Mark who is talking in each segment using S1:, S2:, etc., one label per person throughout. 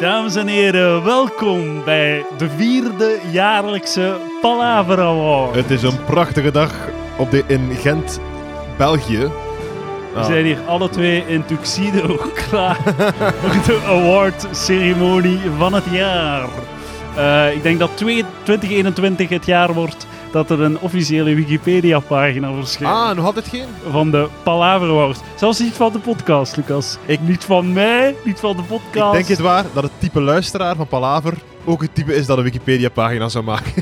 S1: Dames en heren, welkom bij de vierde jaarlijkse Palaver Award.
S2: Het is een prachtige dag op de, in Gent, België. Nou,
S1: We zijn hier alle twee in tuxedo klaar voor de awardceremonie van het jaar. Eh, ik denk dat twee- 2021 het jaar wordt dat er een officiële Wikipedia-pagina verschijnt
S2: Ah, nog altijd geen?
S1: van de Palaver Award. Zelfs niet van de podcast, Lucas.
S2: Ik-
S1: Niet van mij, niet van de podcast.
S2: Ik denk het waar dat het type luisteraar van Palaver ook het type is dat een Wikipedia-pagina zou maken.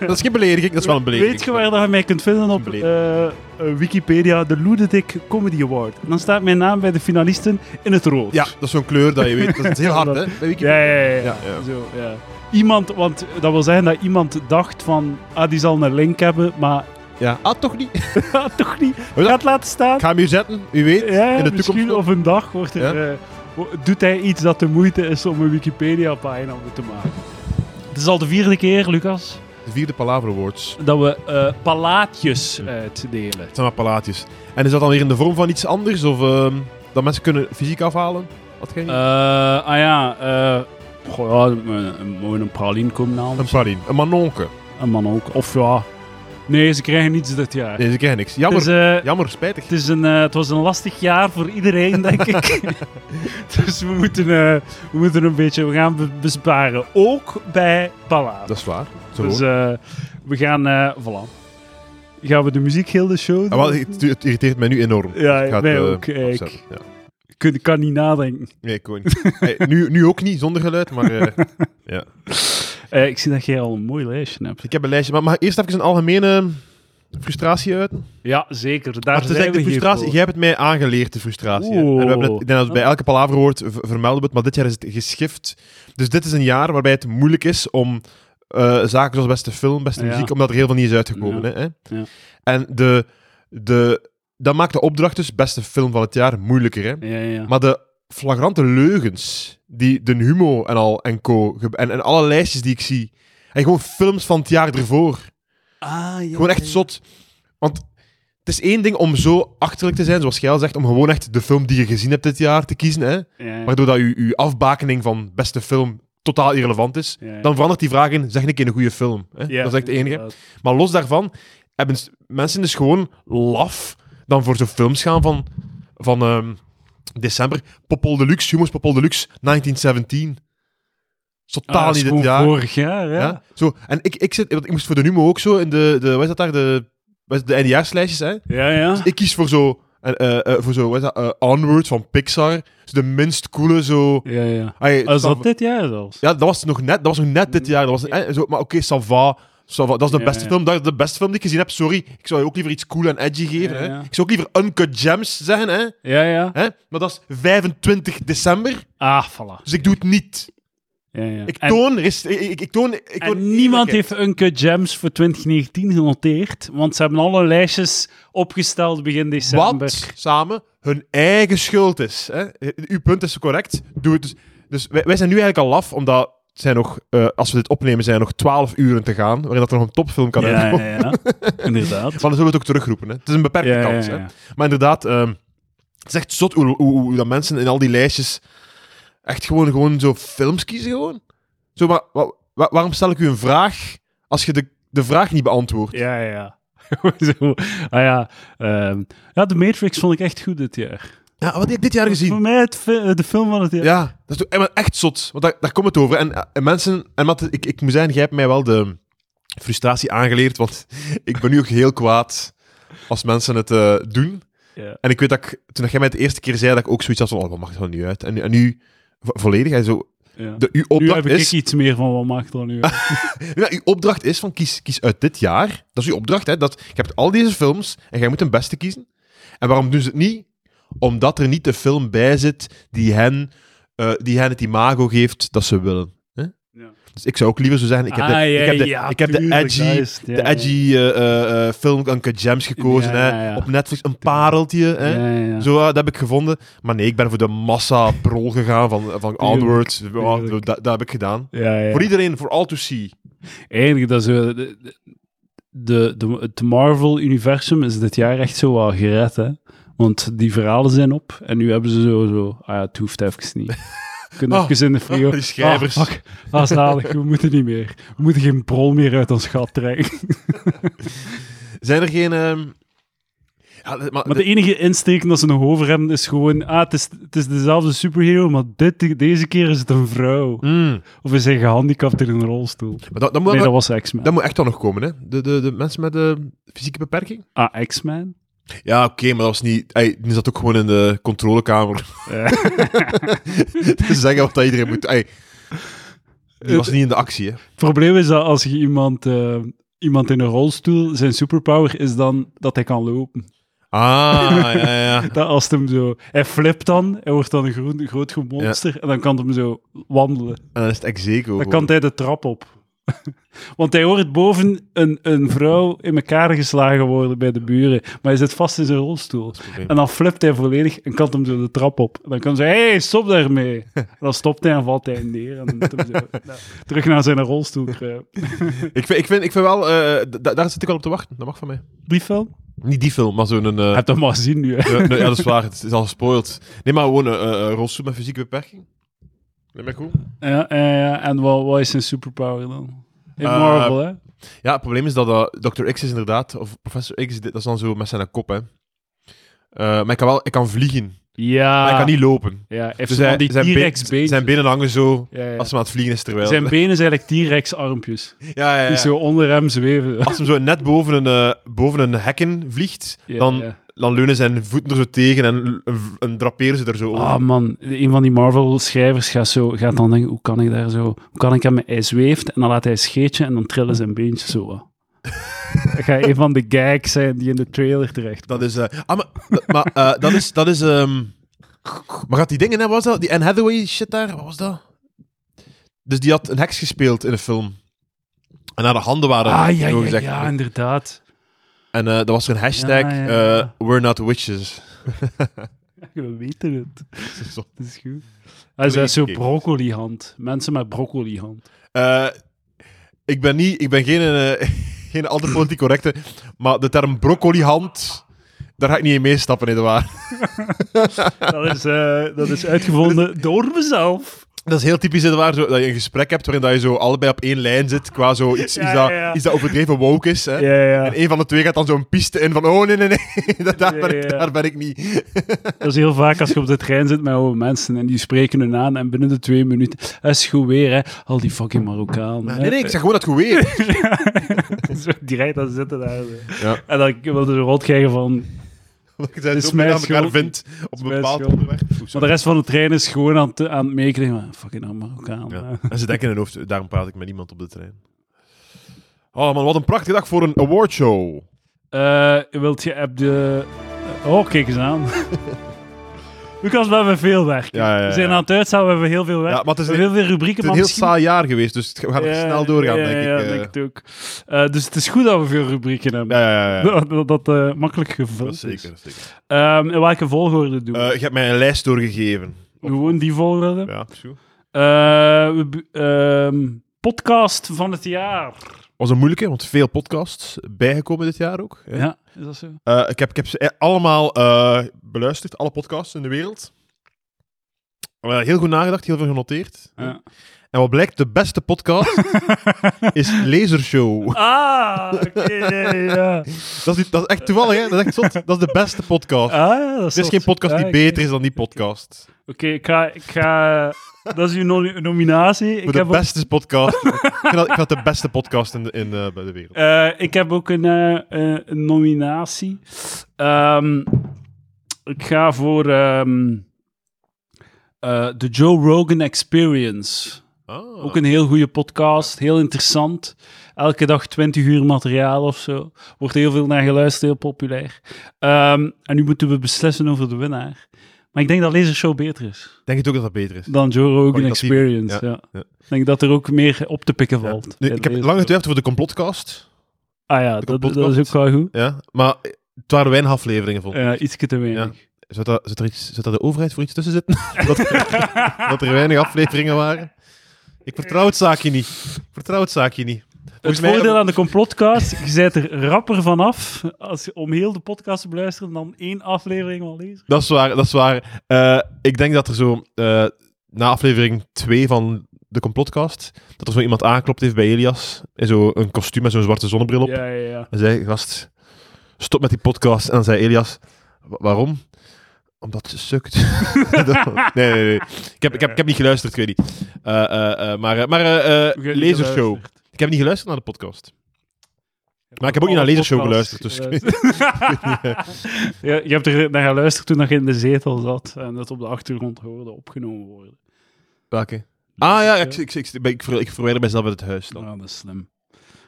S2: dat is geen belediging, dat is wel een belediging.
S1: Weet je waar dat je mij kunt vinden op eh, eh, Wikipedia? De Ludedik Comedy Award. En dan staat mijn naam bij de finalisten in het rood.
S2: Ja, dat is zo'n kleur dat je weet. Dat is heel hard, hè? Bij Wikipedia.
S1: Ja, ja, ja. ja.
S2: Ja, ja.
S1: Zo, ja. Iemand, want dat wil zeggen dat iemand dacht van, ah, die zal een link hebben, maar
S2: Ja. Ah, toch niet? Ik
S1: ah, toch niet.
S2: dat-
S1: Gaat laten staan.
S2: ga hem hier zetten, wie weet.
S1: Ja,
S2: in de toekomst.
S1: misschien
S2: nog.
S1: of een dag wordt er, eh, wo- doet hij iets dat de moeite is om een Wikipedia-pagina op te maken. Het is al de vierde keer, Lucas,
S2: De vierde Palaver Awards.
S1: dat we eh, palaatjes uitdelen.
S2: Het zijn maar palaatjes. En is dat dan weer in de vorm van iets anders? Of ehm, dat mensen kunnen fysiek afhalen? Had geen idee?
S1: Eh, ah ja, eh goh, ja, een- een- moet een praline komen halen.
S2: Een parin, een manonke.
S1: Een man ook. Of ja, nee, ze krijgen niets dit jaar.
S2: Nee, ze krijgen niks.
S1: het,
S2: Jammer,
S1: is, eh,
S2: jammer, spijtig.
S1: het, is een, eh, het was een lastig jaar voor iedereen, denk ik. dus we moeten, eh, we moeten een beetje, we gaan be- besparen. Ook bij Palaver.
S2: Dat is waar. Zo
S1: Dus
S2: hoort.
S1: eh, we gaan, eh voilà. Gaan we de muziekgilde show doen?
S2: Ah, wel, het, het irriteert mij nu enorm.
S1: Ja,
S2: Ik ga het,
S1: mij
S2: eh,
S1: ook, eh,
S2: opzetten, ja.
S1: Ik kan- kan niet nadenken.
S2: Nee, ik ook niet. Hey, nu, nu ook niet, zonder geluid, maar eh, ja.
S1: Eh, ik zie dat jij al een mooi lijstje hebt.
S2: ik heb een lijstje. Maar mag ik eerst even een algemene frustratie uit?
S1: Ja, zeker. Daar
S2: het is
S1: zijn we
S2: eigenlijk de
S1: hier
S2: frustratie.
S1: voor.
S2: Jij hebt het mij aangeleerd, de frustratie. hè. En
S1: Oeh.
S2: we hebben het, ik denk dat het bij elke palaver hoort, v- vermelden we het, maar dit jaar is het geschift. Dus dit is een jaar waarbij het moeilijk is om eh, zaken zoals beste film, beste
S1: Ja.
S2: muziek, omdat er heel veel niet is uitgekomen.
S1: Ja.
S2: Hè, hè.
S1: Ja.
S2: En de, de, dat maakt de opdracht dus beste film van het jaar moeilijker. Hè?
S1: Ja, ja.
S2: Maar de flagrante leugens die de Humo en al en co ge- en, en alle lijstjes die ik zie. En gewoon films van het jaar ervoor.
S1: Ah, ja,
S2: Gewoon echt zot. Want het is één ding om zo achterlijk te zijn, zoals jij al zegt, om gewoon echt de film die je gezien hebt dit jaar te kiezen. Hè?
S1: Ja, ja.
S2: Waardoor dat je, je afbakening van beste film totaal irrelevant is.
S1: Ja, ja.
S2: Dan verandert die vraag in, zeg een keer een goede film. Hè?
S1: Ja,
S2: dat is echt het enige.
S1: inderdaad.
S2: Maar los daarvan hebben s- mensen dus gewoon laf dan voor zo'n films gaan van, van ehm, december. Popol Deluxe, Humors Popol Deluxe, 1917. Is
S1: Ah,
S2: Totaal
S1: dat is
S2: niet dit
S1: gewoon
S2: jaar.
S1: vorig jaar, ja.
S2: Ja? Zo, en ik, ik, zit, want ik moest voor de Numo ook zo in de, de wat is dat daar, de, wat is- de eindejaarslijstjes, hè.
S1: Ja, ja.
S2: Ik kies voor zo, en, eh, eh, voor zo wat is dat, eh, Onward van Pixar. Dus de minst coole zo...
S1: ja, ja.
S2: Ai,
S1: Ah, Is
S2: Sav-
S1: dat dit jaar zelfs?
S2: Ja, dat was nog net, dat was nog net dit jaar. Dat was, eh, zo, maar oké, ça va, ça va. Dat is de
S1: Mm. Ja,
S2: beste
S1: ja.
S2: film. Dat is de beste film die ik gezien heb. Sorry, ik zou je ook liever iets cool en edgy geven.
S1: Ja,
S2: hè.
S1: ja.
S2: Ik zou ook liever Uncut Gems zeggen, hè.
S1: Ja, ja.
S2: hè? Maar dat is 25 december,
S1: Ah, voilà.
S2: dus ik doe het niet.
S1: Ja, ja.
S2: Ik
S1: En-
S2: toon... res- Ik, ik, ik toon, ik
S1: en
S2: toon
S1: niemand
S2: eerlijkheid.
S1: heeft Uncut Gems voor 2019 genoteerd, want ze hebben alle lijstjes opgesteld begin december.
S2: wat samen hun eigen schuld is. Hè? Uw punt is correct. Doe het dus. dus wij, wij zijn nu eigenlijk al laf, omdat het zijn nog, eh, als we dit opnemen, zijn er nog 12 uren te gaan, waarin dat er nog een topfilm kan
S1: Ja,
S2: uitkomen.
S1: ja, ja. Inderdaad.
S2: Maar dan zullen we het ook terugroepen. Hè? Het is een beperkte
S1: Ja, ja,
S2: kans.
S1: ja.
S2: Hè? Maar inderdaad, ehm, het is echt zot hoe, hoe, hoe dat mensen in al die lijstjes echt gewoon, gewoon zo films kiezen. Gewoon. Zo, maar, wa- wa- waarom stel ik u een vraag als je de, de vraag niet beantwoordt?
S1: Ja, ja, ja. Zo. Ah ja. ehm, ja, The Matrix vond ik echt goed dit jaar.
S2: Ja, wat heb ik dit jaar gezien?
S1: Voor mij het, fi- eh, de film van het jaar.
S2: Ja, dat is toch- eh, maar echt zot. Want daar, daar komt het over. En, eh, en mensen, en Matt, ik, ik moet zeggen, jij hebt mij wel de frustratie aangeleerd. Want ik ben nu ook heel kwaad als mensen het eh, doen.
S1: Ja.
S2: En ik weet dat ik, toen jij mij het de eerste keer zei, dat ik ook zoiets had van: oh, wat mag dat nu uit? En, nu- en nu vo- volledig. En zo,
S1: ja.
S2: de, uw
S1: Nu
S2: opdracht
S1: heb ik
S2: is.
S1: iets meer van wat maakt dan nu. uit?
S2: Ja, uw opdracht is van kies, kies uit dit jaar. Dat is uw opdracht. Hè, dat, je hebt al deze films en jij moet een beste kiezen. En waarom doen ze het niet? Omdat er niet de film bij zit die hen, eh, die hen het imago geeft dat ze willen. Hè?
S1: Ja.
S2: Dus ik zou ook liever zo zeggen, ik heb de,
S1: Ah, ja,
S2: ik heb de,
S1: ja,
S2: ik heb de
S1: tuurlijk,
S2: edgy,
S1: dat is het, ja,
S2: de
S1: ja.
S2: edgy eh, eh, eh, film Uncut Gems gekozen.
S1: Ja, ja, ja.
S2: Hè? Op Netflix een pareltje. Hè?
S1: Ja, ja, ja.
S2: Zo, eh, dat heb ik gevonden. Maar nee, ik ben voor de massa-brol gegaan van, van Onward. Ja,
S1: tuurlijk.
S2: dat, dat heb ik gedaan.
S1: Ja, ja.
S2: Voor iedereen, voor all to see.
S1: Eigenlijk, dat is, eh, de, de, de- het Marvel-universum is dit jaar echt zo wel gered, hè. Want die verhalen zijn op en nu hebben ze zo, zo ah ja, het hoeft even niet. kunnen
S2: Oh,
S1: even in de frigo.
S2: oh, die schrijvers.
S1: Ah, fuck, dat is zalig, we moeten niet meer. We moeten geen bron meer uit ons gat trekken.
S2: Zijn er geen... ehm, ja, maar
S1: Maar
S2: de-
S1: de enige insteek dat ze nog over hebben is gewoon, ah, het is, het is dezelfde superhero, maar dit, deze keer is het een vrouw.
S2: Mm.
S1: Of is hij gehandicapt in een rolstoel?
S2: Maar dat, dat, moet,
S1: Nee, dat
S2: dat,
S1: was X-Men.
S2: moet echt wel nog komen, hè? De, de, de mensen met de fysieke beperking?
S1: Ah, X-Men?
S2: Ja, oké, maar dat was niet... Hij die zat ook gewoon in de controlekamer
S1: Eh,
S2: te zeggen wat dat iedereen moet... Ey, die was niet in de actie, hè?
S1: het probleem is dat als je iemand, eh, iemand in een rolstoel, zijn superpower is dan dat hij kan lopen.
S2: Ah, ja, ja. ja.
S1: Dat als het hem zo, hij flipt dan, hij wordt dan een groen, groot groen monster en dan kan het hem zo wandelen.
S2: En dan is het execo.
S1: Dan kan hij de trap op. Want hij hoort boven een, een vrouw in elkaar geslagen worden bij de buren. Maar hij zit vast in zijn rolstoel.
S2: probleem.
S1: En dan flipt hij volledig en kan hem zo de trap op. En dan kan ze hé, hey, stop daarmee. En dan stopt hij en valt hij neer. En dan moet hij zo, nou, terug naar zijn rolstoel kruipen.
S2: Ik vind, ik vind, ik vind wel... eh, da- daar zit ik wel op te wachten. Dat mag van mij.
S1: Die film?
S2: Niet die film, maar zo'n... eh,
S1: Heb dat maar gezien nu. hè.
S2: Ja, nee, ja, dat is waar. Het is al gespoild. Nee, maar gewoon een eh eh, rolstoel met fysieke beperking. Nee, maar goed.
S1: Ja, ja, ja. en wat, wat is zijn superpower dan? In
S2: Eh,
S1: Marvel, hè?
S2: Ja, het probleem is dat eh, Dr. X is inderdaad... Of Professor X, dit- dat is dan zo met zijn kop, hè. Eh, maar ik kan wel ik kan vliegen.
S1: Ja.
S2: Maar ik kan niet lopen.
S1: Ja, hij heeft
S2: Dus
S1: zo van
S2: hij-
S1: die
S2: zijn, been-
S1: T-Rex beentjes.
S2: zijn benen hangen zo
S1: Ja, ja.
S2: als hij aan het vliegen is terwijl...
S1: Zijn benen zijn eigenlijk T-Rex armpjes.
S2: ja, ja,
S1: Die
S2: ja.
S1: zo onder hem zweven.
S2: Als hij zo net boven een, eh, boven een hekken vliegt,
S1: Ja,
S2: dan,
S1: ja.
S2: dan leunen zijn voeten er zo tegen en, l- en- en draperen ze er zo over.
S1: Ah man, een van die Marvel-schrijvers gaat, zo, gaat dan denken, hoe kan ik daar zo... Hoe kan ik hem... Hij zweeft en dan laat hij een scheetje en dan trillen zijn beentjes zo wat. Dat gaat een van de gags zijn die in de trailer terecht
S2: Dat is... eh, ah, maar dat- maar eh, dat is... Dat is ehm, maar gaat die dingen, hè, wat was dat? Die Anne Hathaway shit daar, wat was dat? Dus die had een heks gespeeld in een film. En haar handen waren...
S1: Ah, ja,
S2: zo
S1: ja,
S2: gezegd.
S1: ja, inderdaad.
S2: En eh, dan was er een hashtag,
S1: Ja, ja, ja.
S2: eh, we're not witches.
S1: We weten het.
S2: Zo.
S1: Dat is goed. Hij zei zo
S2: gekeken.
S1: broccolihand. Mensen met broccolihand.
S2: Eh, ik ben niet... Ik ben geen, eh, geen altijd politiek correcte, maar de term broccolihand, daar ga ik niet in meestappen, nietwaar?
S1: Dat is, eh, dat is uitgevonden door mezelf.
S2: Dat is heel typisch, nietwaar, zo, dat je een gesprek hebt waarin dat je zo allebei op één lijn zit, qua zo iets,
S1: Ja,
S2: iets, dat,
S1: ja, ja.
S2: iets dat overdreven woke is, hè.
S1: Ja, ja.
S2: En een van de twee gaat dan zo'n piste in van, oh nee, nee, nee, dat, daar, ben ik,
S1: Ja, ja.
S2: daar ben ik niet.
S1: Dat is heel vaak als je op de trein zit met oude mensen en die spreken hun aan en binnen de twee minuten "Ah, is goed weer, hè. Al die fucking Marokkaan.
S2: Nee, nee, ik zeg gewoon dat goed weer.
S1: Zo direct aan zitten daar. zo.
S2: Ja.
S1: En dan wilde ze rot krijgen van...
S2: Omdat je zij
S1: Is
S2: zo
S1: mijn
S2: veel aan elkaar
S1: schuld.
S2: vindt op
S1: Is
S2: een
S1: mijn
S2: bepaald
S1: schuld.
S2: onderwerp. Oeh,
S1: Maar de
S2: sorry.
S1: rest van de trein is gewoon aan, het- aan het meekrijgen. van, Fucking Marokkaan.
S2: Ja.
S1: hè.
S2: En ze denken in hun hoofd, daarom praat ik met niemand op de trein. Oh man, wat een prachtige dag voor een awardshow.
S1: Eh, wilt je heb de... Oh, kijk eens aan. Lucas, we hebben veel werk.
S2: Ja, ja, ja.
S1: We zijn aan het uitstaan, we hebben heel veel werk.
S2: Ja, maar het is
S1: we hebben heel veel rubrieken,
S2: Het is een
S1: maar
S2: heel
S1: misschien-
S2: saai jaar geweest, dus het- we gaan er
S1: Ja,
S2: snel doorgaan,
S1: ja,
S2: denk ik.
S1: Ja,
S2: eh.
S1: denk het ook. Eh, dus het is goed dat we veel rubrieken hebben.
S2: Ja, ja, ja, ja.
S1: Dat, dat, dat, eh, makkelijk
S2: Dat
S1: gevuld
S2: is
S1: is.
S2: zeker. zeker.
S1: Ehm, in welke volgorde doen we?
S2: Eh, je hebt mij een lijst doorgegeven.
S1: Gewoon die volgorde.
S2: Ja, is goed.
S1: Eh, we bu- ehm, podcast van het jaar.
S2: was een moeilijke, want veel podcasts bijgekomen dit jaar ook. hè.
S1: Ja, is dat zo?
S2: Eh, ik, heb, ik heb ze e- allemaal eh, beluisterd, alle podcasts in de wereld. Eh, heel goed nagedacht, heel veel genoteerd.
S1: Ja.
S2: En wat blijkt, de beste podcast is Lasershow.
S1: Ah, oké, ja, ja.
S2: Dat is, niet- dat is echt toevallig, hè? Dat is echt zot. Dat is de beste podcast.
S1: Ah, ja, dat
S2: er is
S1: zot.
S2: geen podcast
S1: Ja,
S2: die
S1: Ah, oké.
S2: beter is dan die podcast.
S1: Oké, ik ga... Ik ga dat is uw no- nominatie. Ik
S2: Maar de
S1: heb, ook,
S2: beste podcast. ik, vind dat, ik vind dat de beste podcast in de, in, eh, bij de wereld.
S1: eh, ik heb ook een, eh, eh, een nominatie. Ehm, ik ga voor ehm, eh, de Joe Rogan Experience.
S2: Ah.
S1: Ook een heel goede podcast, heel interessant. Elke dag 20 uur materiaal of zo. Wordt heel veel naar geluisterd, heel populair. Ehm, en nu moeten we beslissen over de winnaar. Maar ik denk dat deze show beter is
S2: Denk je ook dat dat beter is?
S1: dan Joe Rogan
S2: Kwalitatief,
S1: Experience.
S2: ja,
S1: Ja,
S2: ja.
S1: Ik denk dat er ook meer op te pikken valt.
S2: Nu,
S1: bij
S2: ik heb
S1: deze
S2: lang
S1: show.
S2: getwijfeld voor de complotcast.
S1: Ah ja, dat, dat is ook wel goed.
S2: Ja? Maar het waren weinig afleveringen, vond ik.
S1: Ja, ietsje te weinig.
S2: Zou daar, zou daar iets, zou daar de overheid voor iets tussen zitten? dat, er, dat er weinig afleveringen waren? Ik vertrouw het zaakje niet. Ik vertrouw het zaakje niet.
S1: Het
S2: Volgens mij-
S1: voordeel aan de complotcast, je bent er rapper vanaf als je om heel de podcast te beluisteren dan één aflevering wil lezen.
S2: Dat is waar, dat is waar. Eh, ik denk dat er zo... eh, na aflevering 2 van de complotcast, dat er zo iemand aangeklopt heeft bij Elias, in zo'n kostuum met zo'n zwarte zonnebril op.
S1: Ja, ja, ja.
S2: En zei, gast, stop met die podcast. En dan zei Elias, "Wa- waarom? Omdat ze sukt. nee, nee, nee. Ik heb, ik, heb, ik heb niet geluisterd, ik weet niet. Eh, eh, eh, maar eh, maar eh, eh,
S1: Ik heb niet
S2: lasershow.
S1: geluisterd.
S2: Ik heb niet geluisterd naar de podcast. Maar ik heb ook niet naar
S1: Alle
S2: Lasershow
S1: podcasts
S2: geluisterd, dus
S1: geluisterd. ja, je hebt er naar geluisterd toen je in de zetel zat en dat op de achtergrond hoorde opgenomen worden.
S2: Welke? Ah ja, ik, ik, ik, ik, ver- ik verwijder mezelf uit het huis dan.
S1: Ah, dat is slim.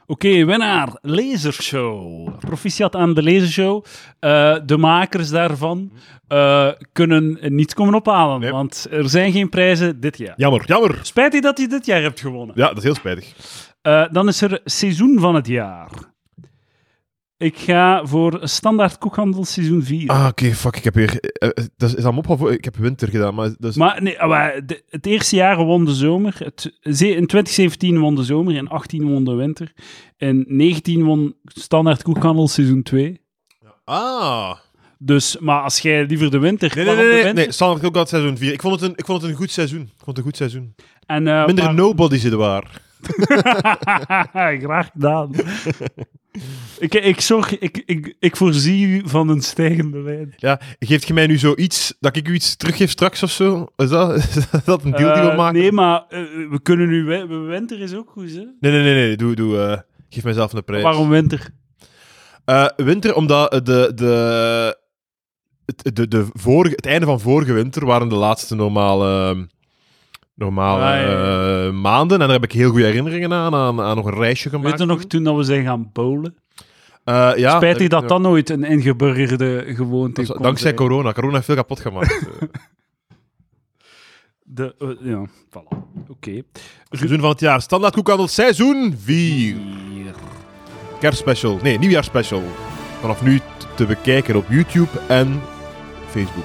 S1: Oké, winnaar, Lasershow. Proficiat aan de Lasershow. Eh, de makers daarvan eh, kunnen niet komen ophalen,
S2: Nee.
S1: want er zijn geen prijzen dit jaar.
S2: Jammer, jammer.
S1: Spijtig dat je dit jaar hebt gewonnen.
S2: Ja, dat is heel spijtig.
S1: Eh, dan is er seizoen van het jaar. Ik ga voor standaard koekhandel seizoen 4.
S2: Ah, oké, fuck. Ik heb weer... eh, eh, dat is, is dat me opgevallen? Ik heb winter gedaan, maar... Dat is,
S1: Maar, nee, ah, maar de- het eerste jaar won de zomer. Het, ze- in 2017 won de zomer, in 18 won de winter. In 19 won standaard koekhandel seizoen 2.
S2: ah.
S1: Dus, maar als jij liever de winter...
S2: Nee, nee,
S1: waarom
S2: nee.
S1: de
S2: nee, nee.
S1: winter?
S2: Standaard ook dat seizoen 4. Ik vond, het een, ik vond het een goed seizoen. Ik vond het een goed seizoen.
S1: En, eh,
S2: Minder
S1: maar-
S2: nobody zitten waar.
S1: Graag gedaan. ik, ik, zorg, ik, ik, ik voorzie u van een stijgende lijn.
S2: Ja, geeft je mij nu zoiets dat ik u iets teruggeef straks of zo? Is dat, is dat een deal die we
S1: Eh,
S2: maken?
S1: Nee, maar eh, we kunnen nu... win- Winter is ook goed, hè?
S2: Nee, nee, nee. nee. Doe, doe, eh, geef mijzelf een prijs.
S1: Waarom winter?
S2: Eh, winter, omdat eh, de, de, het- de, de vorige, het einde van vorige winter waren de laatste normale, ehm, normale
S1: Ah, ja,
S2: eh, maanden. En daar heb ik heel goede herinneringen aan, aan, aan nog een reisje
S1: Weet
S2: gemaakt.
S1: je nog toen dat we zijn gaan bowlen?
S2: Eh, ja,
S1: Spijtig dat
S2: eh,
S1: dat nooit een ingeburgerde gewoonte
S2: dat is-
S1: kon
S2: Dankzij
S1: zijn.
S2: corona. Corona heeft veel kapot gemaakt. Eh,
S1: De, eh, ja, voilà. Oké.
S2: seizoen van het jaar. Standaard koekhandel seizoen 4.
S1: Hier.
S2: Kerstspecial. Nee, nieuwjaarspecial. Vanaf nu t- te bekijken op YouTube en Facebook.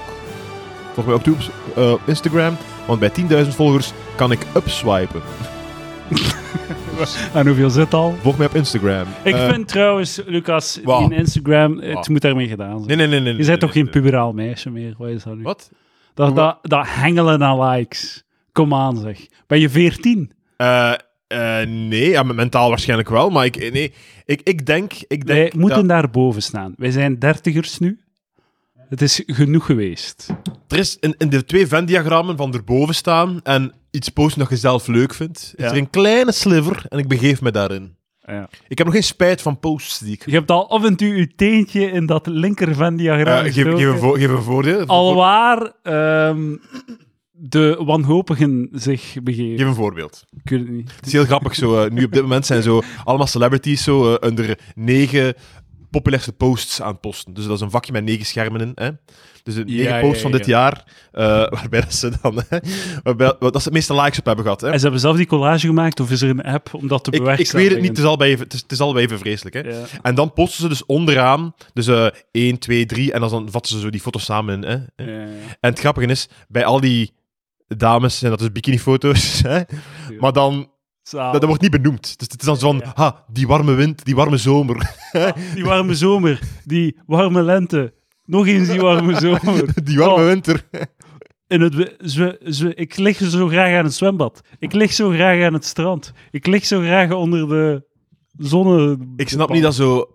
S2: Volg mij ook toe op s- eh, op Instagram, want bij 10.000 volgers kan ik upswipen.
S1: En hoeveel zit al?
S2: Volg mij op Instagram.
S1: Ik
S2: Eh,
S1: vind trouwens, Lucas,
S2: Wauw.
S1: die in Instagram, het
S2: Wauw.
S1: moet daarmee gedaan zijn.
S2: Nee, nee, nee. nee
S1: Je bent toch geen
S2: pub.
S1: puberaal meisje meer? Wat is dat nu?
S2: Wat?
S1: Dat, dat, dat hengelen aan likes. Kom aan, zeg. Ben je veertien?
S2: Eh, eh, nee, ja, me- mentaal waarschijnlijk wel, maar ik, nee, ik, ik denk... Ik
S1: Wij
S2: denk
S1: moeten
S2: dat-
S1: daarboven staan. Wij zijn dertigers nu. Het is genoeg geweest.
S2: er is in, in de twee Venn-diagrammen van erboven staan en iets posten dat je zelf leuk vindt,
S1: Ja.
S2: is er een kleine sliver en ik begeef me daarin.
S1: Ja.
S2: Ik heb nog geen spijt van posts die ik...
S1: Je hebt al af en toe je teentje in dat linker van
S2: Eh,
S1: diagram.
S2: geef, geef, een voor- geef een voordeel.
S1: Alwaar ehm, de wanhopigen zich begeven.
S2: Geef een voorbeeld.
S1: Ik weet het niet.
S2: Het is heel grappig. Zo, eh, nu op dit moment zijn zo allemaal celebrities zo eh, onder negen populairste posts aan het posten. Dus dat is een vakje met negen schermen in. Hè? Dus de negen
S1: ja,
S2: posts van
S1: ja.
S2: dit jaar, eh, waarbij dat ze dan... Hè, waarbij, dat ze het meeste likes op hebben gehad. Hè?
S1: En ze hebben zelf die collage gemaakt, of is er een app om dat te
S2: Ik, ik
S1: bewerkstelligen?
S2: weet het niet, het is allebei even, het is, het is allebei even vreselijk. Hè?
S1: Ja.
S2: En dan posten ze dus onderaan, dus eh 1, 2, 3, en dan- dan vatten ze zo die foto's samen in. Hè?
S1: Ja, ja.
S2: En het grappige is, bij al die dames zijn dat dus bikinifoto's. Hè? Maar dan
S1: Zalig.
S2: Dat, dat wordt niet benoemd. Dus het is dan zo van,
S1: Ja.
S2: ha, die warme wind, die warme zomer,
S1: Ah, Die warme zomer, die warme lente. Nog eens die warme zomer.
S2: die warme
S1: Oh.
S2: winter.
S1: In het, we- zwe- zwe- ik lig zo graag aan het zwembad. Ik lig zo graag aan het strand. Ik lig zo graag onder de zon.
S2: Ik snap niet dat zo...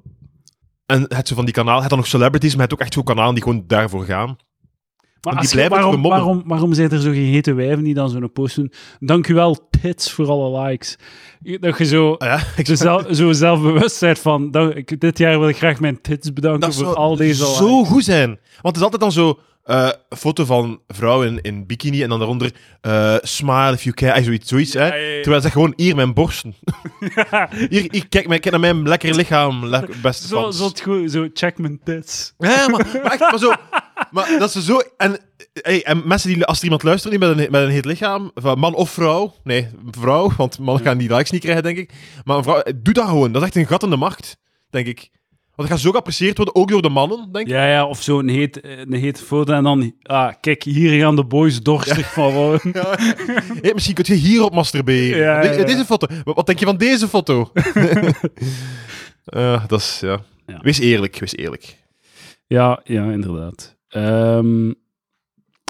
S2: En het zo van die kanaal, het dan nog celebrities, maar het ook echt zo'n kanalen die gewoon daarvoor gaan.
S1: Maar
S2: die
S1: als je-
S2: blijven toch
S1: waarom,
S2: gemobben?
S1: waarom, waarom zijn er zo geheten wijven die dan zo'n post doen? Dank u wel, tits, voor alle likes. Je- Dat je zo,
S2: Ah ja, ik
S1: zo, zelf, zo zelfbewust bent van... dank- ik- dit jaar wil ik graag mijn tits bedanken
S2: dat
S1: voor
S2: zou
S1: al deze likes.
S2: zo goed zijn. Want het is altijd dan zo... eh, foto van vrouw in, in bikini en dan daaronder eh, smile if you care, eh, zoiets. zoiets hè?
S1: Ja, ja, ja.
S2: Terwijl ze gewoon hier mijn borsten. hier, hier, kijk, maar- kijk naar mijn lekker lichaam, le beste
S1: Zo,
S2: fans.
S1: zo, het goed- zo, check mijn tits.
S2: Ja, maar, maar echt, maar zo... Maar dat ze zo... En, hey, en mensen die... Als er iemand luistert die met een, met een heet lichaam, van man of vrouw... Nee, vrouw, want mannen gaan die likes niet krijgen, denk ik. Maar een vrouw... eh, Doe dat gewoon. Dat is echt een gat in de macht, denk ik. Want het gaat zo geapprecieerd worden, ook door de mannen, denk ik.
S1: Ja, ja, of zo'n heet, eh, een heet foto en dan... Ah, kijk, hier gaan de boys dorstig van worden.
S2: Hey, misschien kun je hierop masturberen.
S1: Ja, ja,
S2: De-
S1: ja.
S2: Deze foto. Wat wat denk je van deze foto? Eh, dat is... Ja.
S1: Ja.
S2: Wees eerlijk, wees eerlijk.
S1: Ja, ja, inderdaad. Ehm,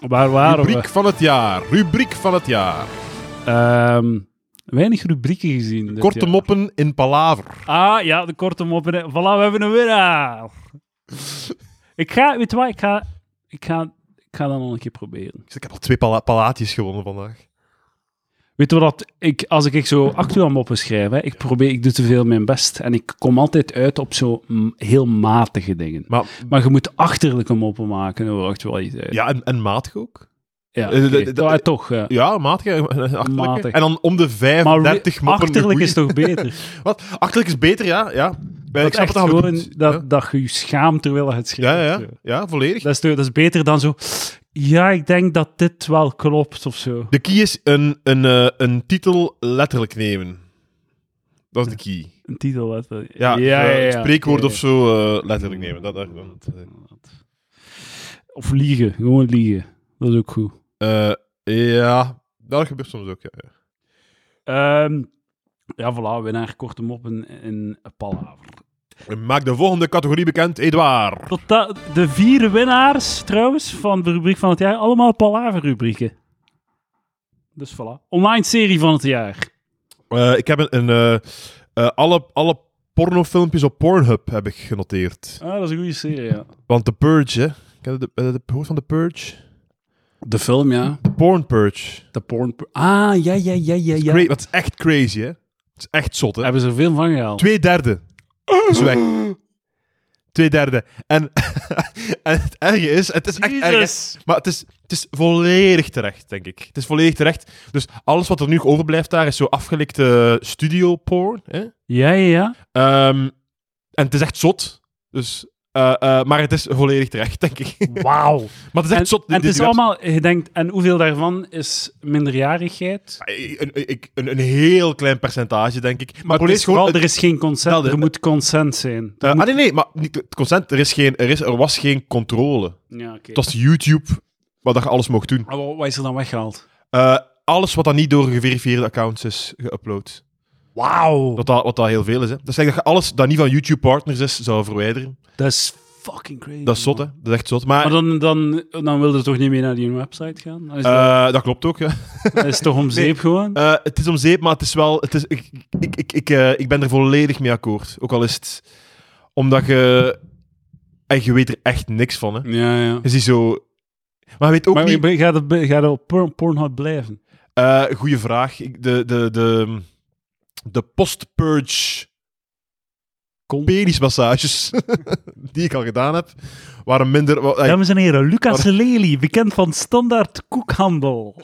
S1: Waar waren
S2: rubriek
S1: we?
S2: van het jaar. Rubriek van het jaar.
S1: Ehm, weinig rubrieken gezien. dit
S2: Korte
S1: jaar.
S2: moppen in palaver.
S1: Ah, ja, de korte moppen. Voilà, we hebben een winnaar. ik ga, weet je wat, ik ga, ik ga, ik ga dat nog een keer proberen.
S2: Dus Ik heb al twee pala- palaatjes gewonnen vandaag.
S1: Weet je wat, ik, als ik zo actueel moppen schrijf, hè, ik, probeer, ik doe te veel mijn best en ik kom altijd uit op zo mm, heel matige dingen.
S2: Maar
S1: Maar je moet achterlijke moppen maken over actualiteit.
S2: ja, en, en matig ook.
S1: ja
S2: eh,
S1: oké.
S2: eh, eh,
S1: Ah,
S2: eh,
S1: toch. ja.
S2: Ja, matig eh, en en achterlijke.
S1: Matig.
S2: En dan om de
S1: Maar
S2: 35
S1: we-
S2: moppen. een
S1: achterlijk
S2: goeie.
S1: is toch beter?
S2: Wat? Achterlijk is beter, ja. ja. Ik
S1: dat
S2: snap
S1: echt
S2: het al
S1: gewoon
S2: goed.
S1: dat,
S2: Ja.
S1: dat je je schaamt terwijl je het
S2: Ja,
S1: schrijft.
S2: ja, ja,
S1: zo.
S2: ja, volledig.
S1: Dat, is, te- dat is beter dan zo... Ja, ik denk dat dit wel klopt of zo.
S2: De key is een, een, eh, een titel letterlijk nemen. Dat is de key.
S1: Een titel. Wat, ja,
S2: Ja, eh, een spreekwoord
S1: oké.
S2: of zo eh, letterlijk nemen. Dat, dat, dat,
S1: Of liegen. Gewoon liegen. Dat is ook goed.
S2: eh. Eh, ja, dat gebeurt soms ook. Ja. ja.
S1: Ehm, ja, voilà. Winnaar korte moppen in Palaver.
S2: Maak de volgende categorie bekend, Edouard.
S1: Tot da- de vier winnaars, trouwens, van de rubriek van het jaar. Allemaal Palaver-rubrieken. Dus voilà. Online serie van het jaar.
S2: Eh, ik heb een, een, eh, eh, alle, alle pornofilmpjes op Pornhub heb ik genoteerd.
S1: Ah, dat is een goede serie, ja.
S2: Want The Purge, hè. Ken je de, eh, de, gehoord van The Purge?
S1: De film, ja.
S2: The Porn Purge.
S1: De porn... Ah, ja, ja, ja, ja, ja.
S2: Cra- dat is echt crazy, hè. Het is echt zot, hè.
S1: Hebben ze er veel van gehaald.
S2: Twee derde is weg. Twee derde. En, en het erge is, het is echt erg. hè.
S1: Jezus.
S2: Maar het is, het is volledig terecht, denk ik. Het is volledig terecht. Dus alles wat er nu overblijft daar is zo afgelikte studio porn. Hè?
S1: Ja, ja, ja.
S2: Ehm, en het is echt zot. Dus, eh, eh, maar het is volledig terecht, denk ik.
S1: Wauw.
S2: maar het is echt
S1: En,
S2: zot.
S1: en het
S2: Die-
S1: is
S2: die
S1: allemaal, je denkt, en hoeveel daarvan is minderjarigheid?
S2: website- Een, een, een, een heel klein percentage, denk ik. Maar,
S1: Maar
S2: het probleem
S1: het is
S2: is gewoon...
S1: vooral, er is geen consent,
S2: Wel, de-
S1: er moet consent zijn. Er
S2: eh,
S1: moet-
S2: ah, nee, nee, maar niet, het consent, er, is geen, er, is, er was geen controle.
S1: ja, oké.
S2: Het was YouTube, waar dat je alles mocht doen.
S1: Ah, wa- Wat is er dan weggehaald?
S2: Eh, alles wat dan niet door geverifieerde accounts is geüpload.
S1: Wauw.
S2: Wat dat, wat dat heel veel is. Hè. Dat is eigenlijk dat je alles dat niet van YouTube-partners is, zou verwijderen.
S1: Dat is fucking crazy.
S2: Dat is zot, hè.
S1: man.
S2: Dat is echt zot. Maar,
S1: Maar dan, dan, dan wil je toch niet meer naar die website gaan? Dan is, dat-
S2: eh, dat klopt ook, ja.
S1: dat is toch om zeep gewoon?
S2: Eh, het is om zeep, maar het is wel... Het is, ik, ik, ik, ik, eh, ik ben er volledig mee akkoord. Ook al is het... Omdat je... En je weet er echt niks van, hè.
S1: ja, ja.
S2: Je ziet zo... Maar je weet Eh, ook
S1: maar
S2: niet...
S1: je gaat er, be- gaat er op porn, Pornhub blijven?
S2: Eh, goeie vraag. Ik- De, de, de, de post-purge
S1: Kon-
S2: penismassages die ik al gedaan heb, waren minder... wa- eh,
S1: Dames en heren, Lucas Lely, bekend van standaard koekhandel.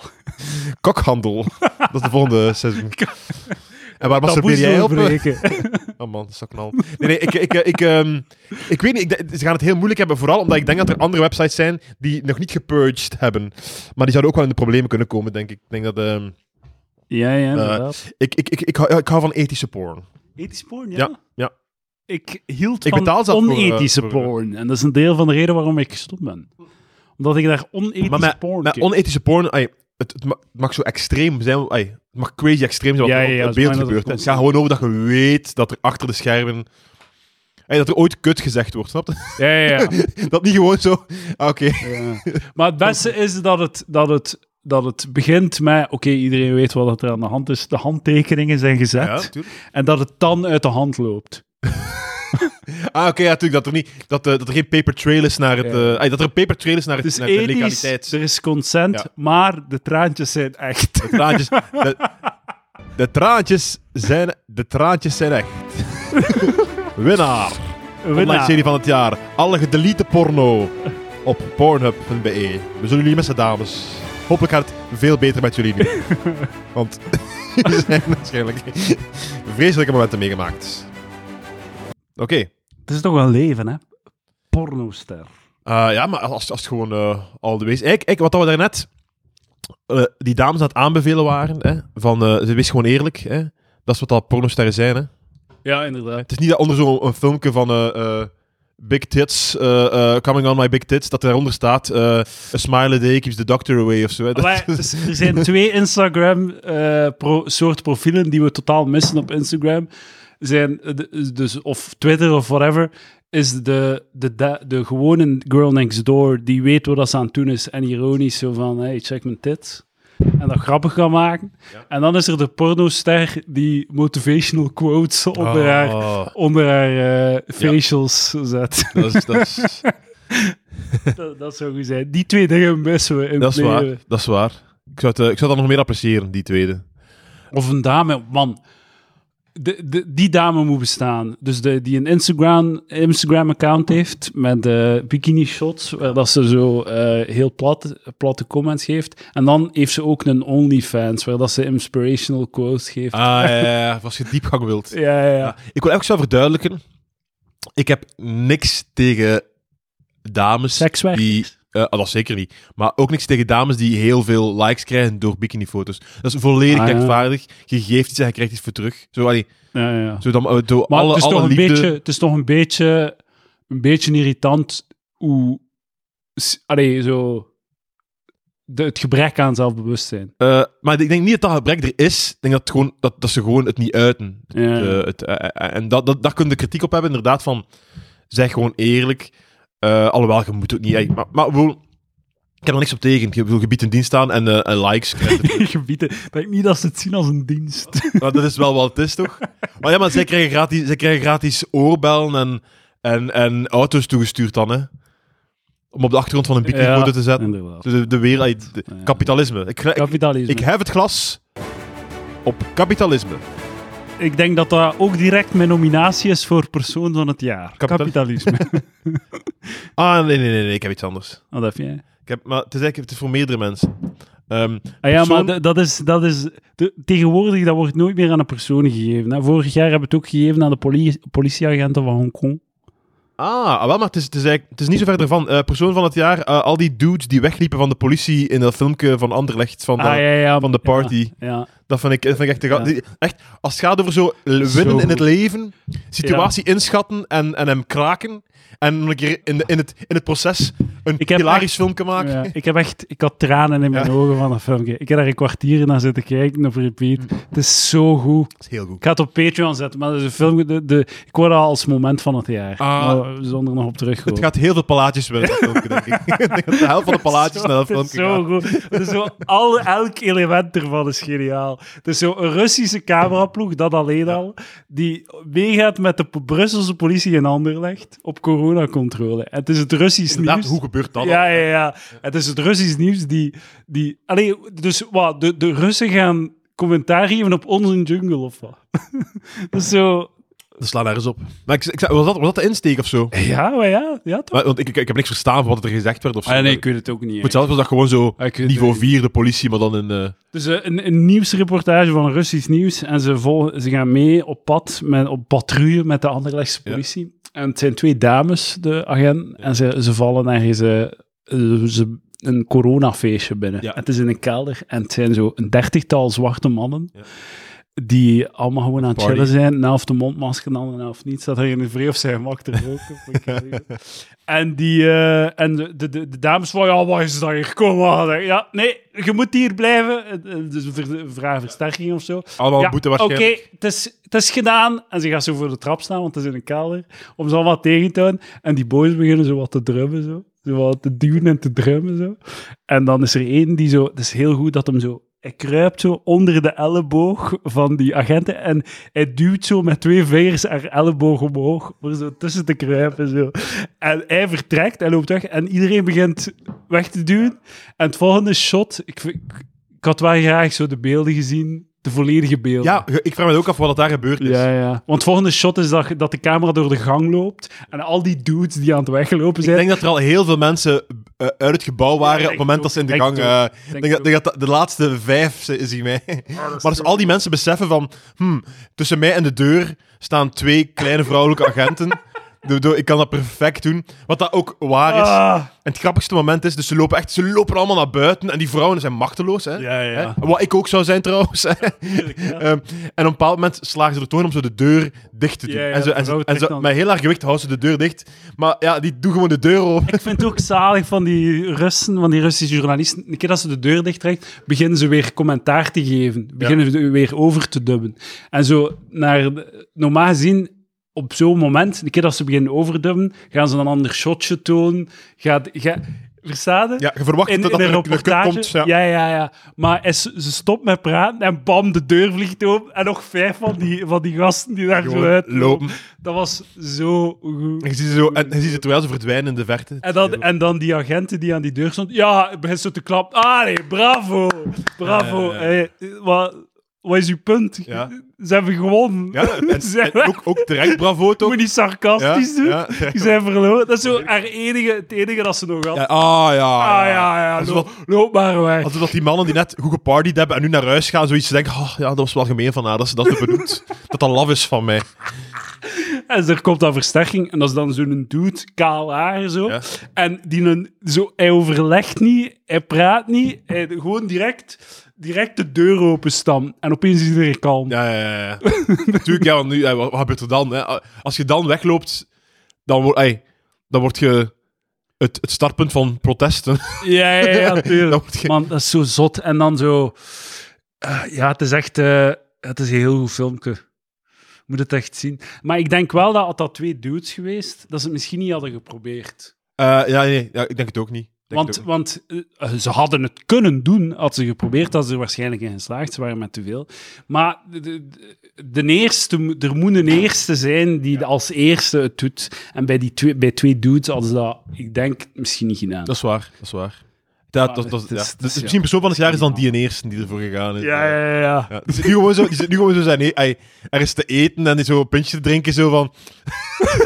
S2: Kokhandel. Dat is de volgende seizoen. En waar masturbeer
S1: Taboes
S2: jij op?
S1: doorbreken.
S2: Oh man, dat is toch knal. Nee, nee, ik, ik, eh, ik, ehm, ik weet niet. Ik, d- ze gaan het heel moeilijk hebben, vooral omdat ik denk dat er andere websites zijn die nog niet gepurged hebben. Maar die zouden ook wel in de problemen kunnen komen, denk ik. Ik denk dat... ehm,
S1: Ja,
S2: Eh,
S1: ja, inderdaad.
S2: ik, ik, ik, ik, hou, ik hou van ethische porn.
S1: Ethisch porn, ja?
S2: Ja, ja.
S1: Ik hield
S2: Ik
S1: van
S2: betaal zelf voor, eh,
S1: onethische
S2: voor-
S1: porn. En dat is een deel van de reden waarom ik gestopt ben. Omdat ik daar onethische
S2: Maar met,
S1: porn
S2: met
S1: keek.
S2: onethische porn... ai, het, het, ma- het mag zo extreem zijn. ai, het mag crazy extreem zijn wat
S1: Ja, ja,
S2: er op
S1: ja,
S2: het
S1: dat is
S2: beeld
S1: fijn dat het
S2: gebeurt. hè. Het
S1: constant
S2: gaat gewoon over dat je weet dat er achter de schermen... ai, dat er ooit kut gezegd wordt, snap je?
S1: Ja, ja, ja.
S2: Dat niet gewoon zo. Ah, Oké.
S1: Ja. Maar het beste is dat het, dat het, dat het begint met... Oké, iedereen weet wat er aan de hand is. De handtekeningen zijn gezet. En dat het dan uit de hand loopt.
S2: Ah, oké, ja, natuurlijk. Dat er, niet, dat, eh, dat er geen paper trail is naar het.
S1: Ja.
S2: eh, ai, dat er een paper trail is naar, het,
S1: Het is
S2: naar de
S1: ethisch,
S2: legaliteit.
S1: er is consent,
S2: Ja.
S1: maar de traantjes zijn echt.
S2: De traantjes. De, de traantjes zijn. De traantjes zijn echt. Winnaar. Online
S1: Winnaar.
S2: serie van het jaar. Alle gedelete porno. Op pornhub.be. E. We zullen jullie missen, dames. Hopelijk gaat het veel beter met jullie nu. Want jullie zijn waarschijnlijk vreselijke momenten meegemaakt. Oké.
S1: Het is toch wel leven, hè? Pornoster.
S2: Eh, ja, maar als, als het gewoon eh al de wees. Kijk, kijk, wat dat we daarnet eh die dames aan het aanbevelen waren, hè, van eh, ze wees gewoon eerlijk, hè, dat is wat dat pornosterren zijn. Hè.
S1: Ja, inderdaad.
S2: Het is niet dat onder zo'n een filmpje van eh, eh, Big Tits, eh, eh, Coming on My Big Tits, dat daaronder staat eh A smile a day keeps the doctor away of zo. Hè. Dat-
S1: Maar er zijn twee Instagram-soort eh, profielen die we totaal missen op Instagram. Zijn, eh, de- dus, of Twitter of whatever. is de, de, de, de gewone girl next door die weet wat dat ze aan het doen is en ironisch zo van, hey, check mijn tits. En dat grappig gaan maken. En dan is er de pornoster die motivational quotes onder haar,
S2: Oh,
S1: onder haar eh, facials zet.
S2: dat is, dat is,
S1: dat, dat zou goed zijn. Die twee dingen missen we in
S2: dat is
S1: het
S2: waar.
S1: leven.
S2: Dat is waar. Ik zou, het, eh, ik zou dat nog meer appreciëren, die tweede.
S1: Of een dame, man. De, de, die dame moet bestaan. Dus de, die een Instagram, Instagram account heeft met eh, bikini shots, waar dat ze zo eh, heel plat, platte comments geeft. En dan heeft ze ook een OnlyFans, waar dat ze inspirational quotes geeft.
S2: Ah, ja, ja, ja, als je diepgang wilt.
S1: Ja, ja, ja.
S2: Ik wil even zo verduidelijken. Ik heb niks tegen dames
S1: Sekswerk.
S2: die... eh, ah, dat zeker niet. Maar ook niks tegen dames die heel veel likes krijgen door bikinifoto's. Dat is volledig
S1: Ah, ja.
S2: rechtvaardig. Je geeft iets en je krijgt iets voor terug. Zo, allee,
S1: ja, ja.
S2: zo dan, eh, door
S1: Maar
S2: alle,
S1: het, is
S2: alle
S1: toch een
S2: liefde...
S1: beetje, het is toch een beetje, een beetje irritant hoe... s- Allee, zo... De, het gebrek aan zelfbewustzijn.
S2: Eh, maar ik denk niet dat dat gebrek er is. Ik denk dat, het gewoon, dat, dat ze gewoon het niet uiten.
S1: Ja.
S2: Eh, het, eh, eh, en dat, dat, daar kun je kritiek op hebben, inderdaad, van... Zeg gewoon eerlijk. Eh, alhoewel, je moet ook niet... eh, Maar, maar ik bedoel, ik heb er niks op tegen. Je, bedoel, je biedt een dienst aan en, eh, en likes krijgt het
S1: gebieden. Denk niet dat ze het zien als een dienst.
S2: Maar dat is wel wat het is, toch? Maar ja, maar zij krijgen gratis, zij krijgen gratis oorbellen en, en, en auto's toegestuurd dan, hè? Om op de achtergrond van een bikinifoto te zetten.
S1: Inderdaad.
S2: Dus de, de wereld... de-
S1: Ja.
S2: kapitalisme. Ik, ik,
S1: Kapitalisme.
S2: ik
S1: Ik,
S2: hef het glas op kapitalisme.
S1: denk dat dat ook direct mijn nominatie is voor persoon van het jaar.
S2: Kapitaal-
S1: Kapitalisme.
S2: Ah, nee, nee, nee, nee, ik heb iets anders.
S1: Wat Oh, heb jij?
S2: Ik heb, maar het is eigenlijk het is voor meerdere mensen. Ehm,
S1: Ah ja,
S2: Persoon-
S1: maar d- dat is... Dat is de- tegenwoordig, dat wordt nooit meer aan een persoon gegeven. Hè. Vorig jaar hebben we het ook gegeven aan de poli- politieagenten van Hongkong.
S2: ah, ah, wel, maar het is, het, is eigenlijk, het is niet zo ver ervan. Eh, persoon van het jaar, eh, al die dudes die wegliepen van de politie in dat filmpje van Anderlecht, van de,
S1: ah, ja, ja.
S2: van de party.
S1: Ja.
S2: Dat vind ik, dat vind ik echt, de ga-
S1: Ja.
S2: die- echt. Als het gaat over zo l- winnen
S1: Zo
S2: in
S1: goed.
S2: het leven, situatie inschatten en, en hem kraken. En nog een keer in, de- in, het, in het proces een
S1: Ik heb
S2: hilarisch
S1: echt-
S2: filmpje maken.
S1: Ja, ik heb echt, ik had tranen in mijn ogen van dat filmpje. Ik heb daar een kwartier naar zitten kijken op repeat.
S2: Mm.
S1: Het is zo goed.
S2: Dat is heel goed.
S1: Ik ga het op Patreon zetten, maar dat is een film, de, de, ik word al als moment van het jaar.
S2: Ah.
S1: Maar zonder nog op terug te
S2: Het
S1: komen.
S2: gaat heel veel palaatjes winnen, dat filmpje, denk ik. Ik denk dat de helft van de palaatjes naar dat
S1: Het is
S2: filmpje gaat.
S1: zo goed. Het is zo, al, elk element ervan is geniaal. Het is zo een Russische cameraploeg, dat alleen al, die meegaat met de po- Brusselse politie in Anderlecht op coronacontrole. En het is het Russisch
S2: Inderdaad,
S1: nieuws.
S2: hoe gebeurt dat?
S1: Ja,
S2: dan?
S1: ja, ja. Het is het Russisch nieuws die... die allee, dus wat, de, de Russen gaan commentaar geven op onze jungle of wat. dus zo...
S2: Dat slaat nergens op. Maar ik, ik, zei, was, dat, was dat de insteek of zo?
S1: Ja, maar ja, ja toch?
S2: Maar- want ik, ik, ik heb niks verstaan van wat er gezegd werd of zo. Ah, ik
S1: weet het ook niet.
S2: moet zelfs was dat gewoon zo
S1: Ah, ik weet het
S2: niveau
S1: ook
S2: 4, de politie, maar dan in... eh,
S1: Dus eh, een, een nieuwsreportage van Russisch nieuws. En ze, volgen, ze gaan mee op pad, met, op patrouille met de Anderlechtse
S2: Ja.
S1: politie. En het zijn twee dames, de agent. En ze, ze vallen ergens eh, eh, ze, een coronafeestje binnen.
S2: Ja.
S1: Het is in een kelder en het zijn zo een dertigtal zwarte mannen.
S2: Ja.
S1: Die allemaal gewoon aan het
S2: Party.
S1: chillen zijn. Een helft de mondmasker, de andere helft niet. Zat er in de vree of zijn mak te roken. Vond ik heel en, die, eh, en de, de, de dames van, ja, wat is dat hier? Kom maar. Ja, nee, je moet hier blijven. Eh, eh, Dus ver, vragen versterking of zo.
S2: allemaal
S1: ja,
S2: boete
S1: Oké,
S2: waarschijnlijk.
S1: het, is, het is gedaan. En ze gaat zo voor de trap staan, want het is in een kelder. Om ze allemaal tegen te houden. En die boys beginnen zo wat te drummen, zo. Zo wat te duwen en te drummen, zo. En dan is er één die zo... Het is heel goed dat hem zo... Hij kruipt zo onder de elleboog van die agenten en hij duwt zo met twee vingers haar elleboog omhoog om er zo tussen te kruipen. Zo. En hij vertrekt en loopt weg en iedereen begint weg te duwen. En het volgende shot... Ik, vind- ik, ik had wel graag zo de beelden gezien, de volledige beelden.
S2: Ja, ge- ik vraag me ook af wat dat daar gebeurd is.
S1: Ja, ja. Dus Want het volgende shot is dat, dat de camera door de gang loopt en al die dudes die aan het weglopen
S2: Ik
S1: zijn.
S2: denk dat er al heel veel mensen eh, uit het gebouw waren
S1: denk
S2: op het moment dat ze in de
S1: het ook.
S2: gang...
S1: Denk het
S2: eh,
S1: ook.
S2: Ik denk, dat- denk dat de laatste vijf zi- is in mij. maar als al die mensen beseffen van... hmm, tussen mij en de deur staan twee kleine vrouwelijke agenten. Doe- Ik kan dat perfect doen. Wat dat ook waar is.
S1: Ah.
S2: En het grappigste moment is, dus ze lopen echt, ze lopen allemaal naar buiten en die vrouwen zijn machteloos, hè.
S1: Ja, ja.
S2: Hè? Wat ik ook zou zijn trouwens. hè. Ehm, en op een bepaald moment slagen ze er toon om zo de deur dicht te doen.
S1: Ja, ja,
S2: en zo,
S1: de
S2: en,
S1: vrouw
S2: zo, en
S1: trekt
S2: zo,
S1: dan-
S2: met heel haar gewicht houden ze de deur dicht. Maar ja, die doen gewoon de deur open.
S1: Ik vind het ook zalig van die Russen, van die Russische journalisten. Een keer dat ze de deur dichttrekt, beginnen ze weer commentaar te geven. Beginnen ze weer over te dubben. En zo, naar, normaal gezien op zo'n moment, een keer dat ze beginnen overdubben, gaan ze een ander shotje tonen. Gaat, ga, versta je?
S2: Ja, je verwacht
S1: in,
S2: dat
S1: in een
S2: dat er een- een kut
S1: reportage.
S2: komt. Ja.
S1: ja, ja, ja. Maar hij s- ze stopt met praten en bam, de deur vliegt open. En nog vijf van die, van die gasten die daar zo
S2: Gewoon
S1: uit
S2: lopen.
S1: Dat was zo goed.
S2: En je ziet ze, zo, en je ziet ze terwijl ze verdwijnen in de verte.
S1: En dan, en dan die agenten die aan die deur stond. Ja, het begint zo te klappen. Ah nee, bravo. Bravo.
S2: Ja, ja,
S1: Hey, wat, wat is uw punt?
S2: Ja.
S1: Ze hebben gewonnen.
S2: Ja, en,
S1: Ze hebben-
S2: en ook, ook terecht bravo, toch?
S1: Moet niet sarcastisch
S2: Ja,
S1: doen.
S2: ja.
S1: Die zijn verloren. Dat is zo haar enige, het enige dat ze nog had.
S2: Ja, ah, ja.
S1: ah ja, ja.
S2: Als
S1: Loop,
S2: dat,
S1: loop maar weg.
S2: als dat die mannen die net goed gepartied hebben en nu naar huis gaan, zoiets denken, oh, ja, dat was wel gemeen van haar dat ze dat hebben bedoeld. dat dat laf is van mij.
S1: En er komt dan versterking. En dat is dan zo'n dude, kaal haar zo.
S2: Ja.
S1: En die een, zo, hij overlegt niet, hij praat niet. Hij, gewoon direct, direct de deur openstammen. En opeens is iedereen kalm.
S2: Ja, ja, ja, ja. Natuurlijk, ja, want nu, ja, wat wat gebeurt er dan? Hè? Als je dan wegloopt, dan, word- ey, dan word je het, het startpunt van protesten.
S1: Ja, ja, ja,
S2: Dat
S1: natuurlijk.
S2: moet je-
S1: Man, dat is zo zot. En dan zo... eh, ja, het is echt... eh, het is een heel goed filmpje. Moet het echt zien. Maar ik denk wel dat had dat twee dudes geweest, dat ze het misschien niet hadden geprobeerd.
S2: Eh, ja, nee, ja, ik denk het ook niet. Ik denk het
S1: Want,
S2: ook
S1: want eh, ze hadden het kunnen doen, had ze geprobeerd, hadden ze er waarschijnlijk in geslaagd. Ze waren met te veel. Maar de, de, de eerste, mo- er moet een eerste zijn die als eerste het doet. En bij, die twee, bij twee dudes hadden ze dat, ik denk, misschien niet gedaan.
S2: niet. Dat is waar, dat is waar. Ja, dat, dat,
S1: het is-
S2: ja.
S1: het is-
S2: Dus misschien persoon van het jaar is dan die in eerste die ervoor gegaan is.
S1: ja, ja, ja. ja.
S2: Ja, die, zit nu gewoon zo, die zit nu gewoon zo zijn... e- ey, er is te eten en die zo een puntje te drinken, zo van...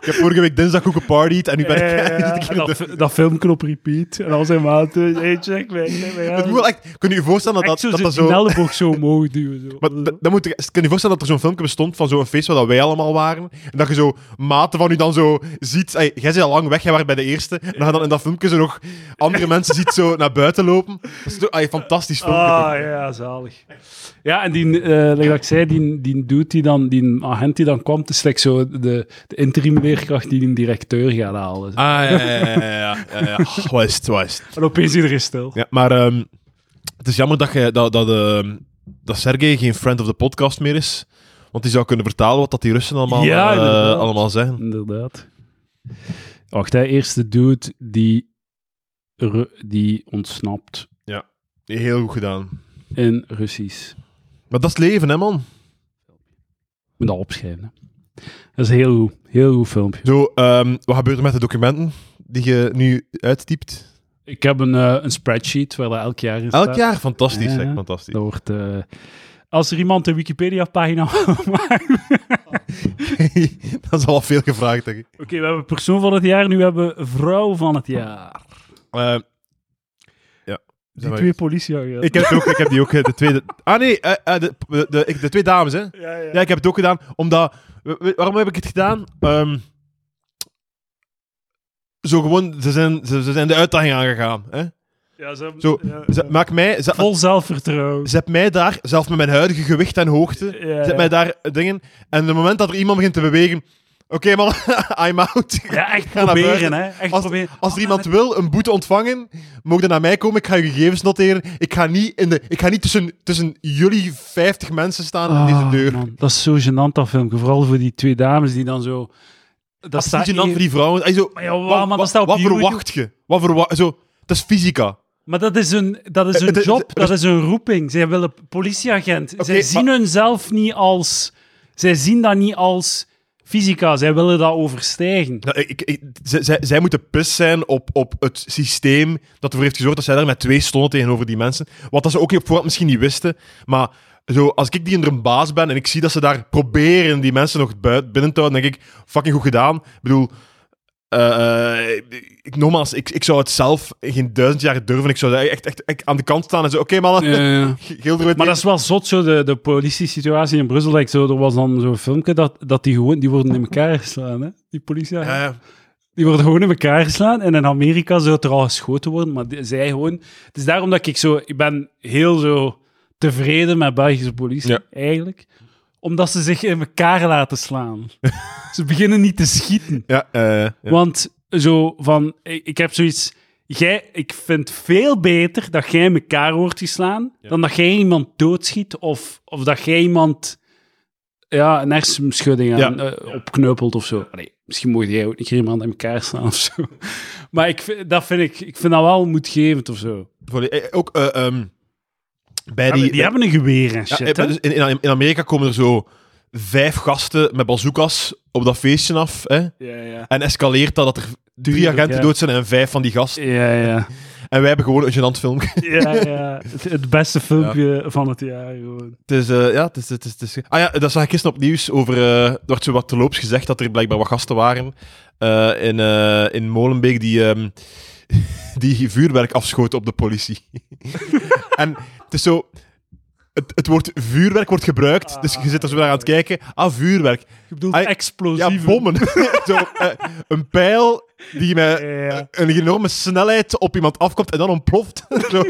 S2: ik heb vorige week dinsdag goed gepartied en nu ben ik...
S1: Ja, ja, ja.
S2: zit ik
S1: En
S2: hier in de-
S1: dat, dat filmpje op repeat. En al zijn maten. Hey, check, wij- wij- wij-
S2: Het moet wel echt... Kun je je voorstellen dat
S1: Echt
S2: dat,
S1: zo
S2: dat,
S1: zijn
S2: dat zo...
S1: elleboog zo omhoog duwen. Zo.
S2: Maar d- dan moet je, kan je voorstellen dat er zo'n filmpje bestond van zo'n feest waar dat wij allemaal waren. En dat je zo maten van u dan zo ziet. Ey, jij bent al lang weg, jij was bij de eerste. En dat je dan in dat filmpje zo nog andere mensen ziet zo naar buiten lopen. Dat is zo, ey, fantastisch filmpje.
S1: Ah, ja, zalig. Ja, en die, eh like dat ik zei, die, die dude die dan, die agent die dan kwam, het is like zo de, de interim leerkracht die een directeur gaat halen.
S2: Ah, ja, ja, ja. ja, ja, ja. Ah, wat is het, wat is het.
S1: En opeens iedereen stil.
S2: Ja, maar ehm, het is jammer dat, je, dat, dat, ehm, dat Sergej geen friend of the podcast meer is. Want die zou kunnen vertalen wat dat die Russen allemaal,
S1: Ja,
S2: eh,
S1: inderdaad.
S2: allemaal zeggen.
S1: Inderdaad. Wacht, hè, eerste dude die, Ru- die ontsnapt
S2: Heel goed gedaan.
S1: in Russisch.
S2: Maar dat is het leven, hè, man.
S1: Ik moet dat opschrijven. hè. Dat is een heel goed, heel goed filmpje.
S2: Zo, ehm, wat gebeurt er met de documenten die je nu uittypt?
S1: Ik heb een, eh, een spreadsheet waar dat elk jaar in staat.
S2: Elk jaar? Fantastisch,
S1: Ja,
S2: zeg,
S1: ja.
S2: fantastisch.
S1: Dat wordt, eh, als er iemand een Wikipedia-pagina maakt... Oké,
S2: dat is al veel gevraagd, denk ik.
S1: we hebben persoon van het jaar, nu hebben we vrouw van het jaar.
S2: Eh, ja.
S1: Die
S2: Zeg maar,
S1: twee politieagenten.
S2: Ik heb, het ook, ik heb die ook, eh, de tweede... Ah nee, eh, eh, de, de, de, ik- de twee dames, hè.
S1: Ja, ja.
S2: Ja, ik heb het ook gedaan, omdat... we- we- Waarom heb ik het gedaan? Ehm, zo gewoon, ze zijn, ze, ze zijn de uitdaging aangegaan. Hè?
S1: Ja, ze hebben-
S2: Zo,
S1: ja,
S2: Ze,
S1: ja.
S2: maak mij, ze,
S1: Vol zelfvertrouwen.
S2: ze hebben mij daar, zelfs met mijn huidige gewicht en hoogte,
S1: Ja,
S2: Zet
S1: ja.
S2: mij daar dingen. En op het moment dat er iemand begint te bewegen. Oké, man, I'm out.
S1: Ja, echt
S2: naar
S1: proberen,
S2: buiten.
S1: hè. Echt
S2: Als,
S1: proberen.
S2: als er iemand wil een boete ontvangen, mogen dan naar mij komen. Ik ga je gegevens noteren. Ik ga niet, in de, ik ga niet tussen, tussen jullie 50 mensen staan aan
S1: Ah,
S2: deze deur.
S1: man, dat is zo gênant, dat filmpje. Vooral voor die twee dames die dan zo...
S2: Dat is niet gênant
S1: één-
S2: voor die vrouwen. Ey, zo,
S1: Maar ja,
S2: wat
S1: man, dat staat op
S2: wat
S1: YouTube.
S2: verwacht je? Wat verwacht zo, Dat is fysica.
S1: Maar dat is een, dat is
S2: Het
S1: een
S2: is-
S1: job, dat is een roeping. Zij willen politieagent. zij zien
S2: maar-
S1: hunzelf niet als... Zij zien dat niet als fysica. Zij willen dat overstijgen.
S2: Nou, ik, ik, zij, zij- zij moeten pis zijn op, op het systeem dat ervoor heeft gezorgd dat zij daar met twee stonden tegenover die mensen. Wat dat ze ook op voorhand misschien niet wisten. Maar zo, als ik die in een baas ben en ik zie dat ze daar proberen die mensen nog buiten, binnen te houden, denk ik, fucking goed gedaan. Ik bedoel, eh, eh, ik, nogmaals, ik, ik zou het zelf geen duizend jaar durven. Ik zou daar echt, echt, echt aan de kant staan en zo, oké mannen,
S1: Eh,
S2: gilder
S1: Maar dat is wel zot, zo, de, de politie-situatie in Brussel. Like, zo, er was dan zo'n filmpje dat, dat die gewoon... Die worden in elkaar geslaan, hè? Die politieagenten. Die worden gewoon in elkaar geslaan. En in Amerika zou het er al geschoten worden. Maar die- zij gewoon... Het is daarom dat ik zo... Ik ben heel zo tevreden met Belgische politie,
S2: Ja.
S1: eigenlijk. Omdat ze zich in elkaar laten slaan. ze beginnen niet te schieten.
S2: Ja, eh, ja.
S1: Want zo van... Ik, ik heb zoiets... Jij, ik vind veel beter dat jij in elkaar wordt geslaan dan dat jij iemand doodschiet of, of dat jij iemand ja, een hersenschudding aan,
S2: Ja.
S1: eh, opkneupelt of zo. Allee, misschien mocht jij ook niet iemand aan elkaar slaan of zo. Maar ik, vind- dat vind ik, ik vind dat wel moedgevend of zo.
S2: Volle- eh, Ook eh, ehm, bij
S1: Ja,
S2: die...
S1: Ah, die, hebben een geweer en
S2: Ja,
S1: shit,
S2: eh,
S1: hè?
S2: dus in, in, in Amerika komen er zo vijf gasten met bazookas op dat feestje af. Hè?
S1: Ja, ja.
S2: En escaleert dat dat er drie
S1: Tuurlijk,
S2: agenten
S1: ja.
S2: dood zijn en vijf van die gasten.
S1: Ja, ja.
S2: En wij hebben gewoon een gênant filmpje.
S1: ja, ja. Het, het beste filmpje van het jaar, gewoon.
S2: Het is, eh, ja, het is, het is, het is- Ah ja, dat zag ik gisteren op nieuws over... eh, er werd zo wat terloops gezegd dat er blijkbaar wat gasten waren eh, in, eh, in Molenbeek die, ehm, die vuurwerk afschoten op de politie. en het is zo... Het, het woord vuurwerk wordt gebruikt, dus je zit er zo naar aan het kijken. Ah, vuurwerk.
S1: Je bedoelt
S2: Ai,
S1: explosieve...
S2: Ja, bommen. Zo, eh, een pijl die met
S1: Ja, ja.
S2: een enorme snelheid op iemand afkomt en dan ontploft. Zo.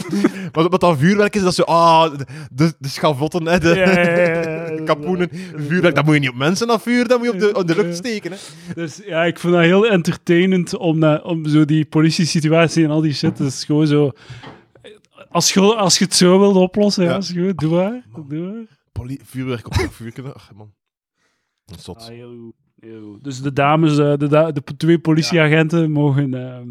S2: Wat, wat dan vuurwerk is, dat zo, ah, de, de schavotten, hè, de,
S1: Ja, ja, ja, ja,
S2: de
S1: ja.
S2: kapoenen. Vuurwerk, dat moet je niet op mensen afvuren, dat moet je op de, op de lucht steken. Hè.
S1: Dus ja, ik vind dat heel entertainend om, naar- om zo die politiesituatie en al die shit. Dat is gewoon zo. Als je, als je het zo wilt oplossen, ja.
S2: Ja.
S1: is goed. Doe maar. Doe maar.
S2: Poli- vuurwerk op een vuurwerk, ach man. Dat is zot.
S1: Ah, heel goed. Dus de dames, eh, de, da- de twee politieagenten mogen. ehm,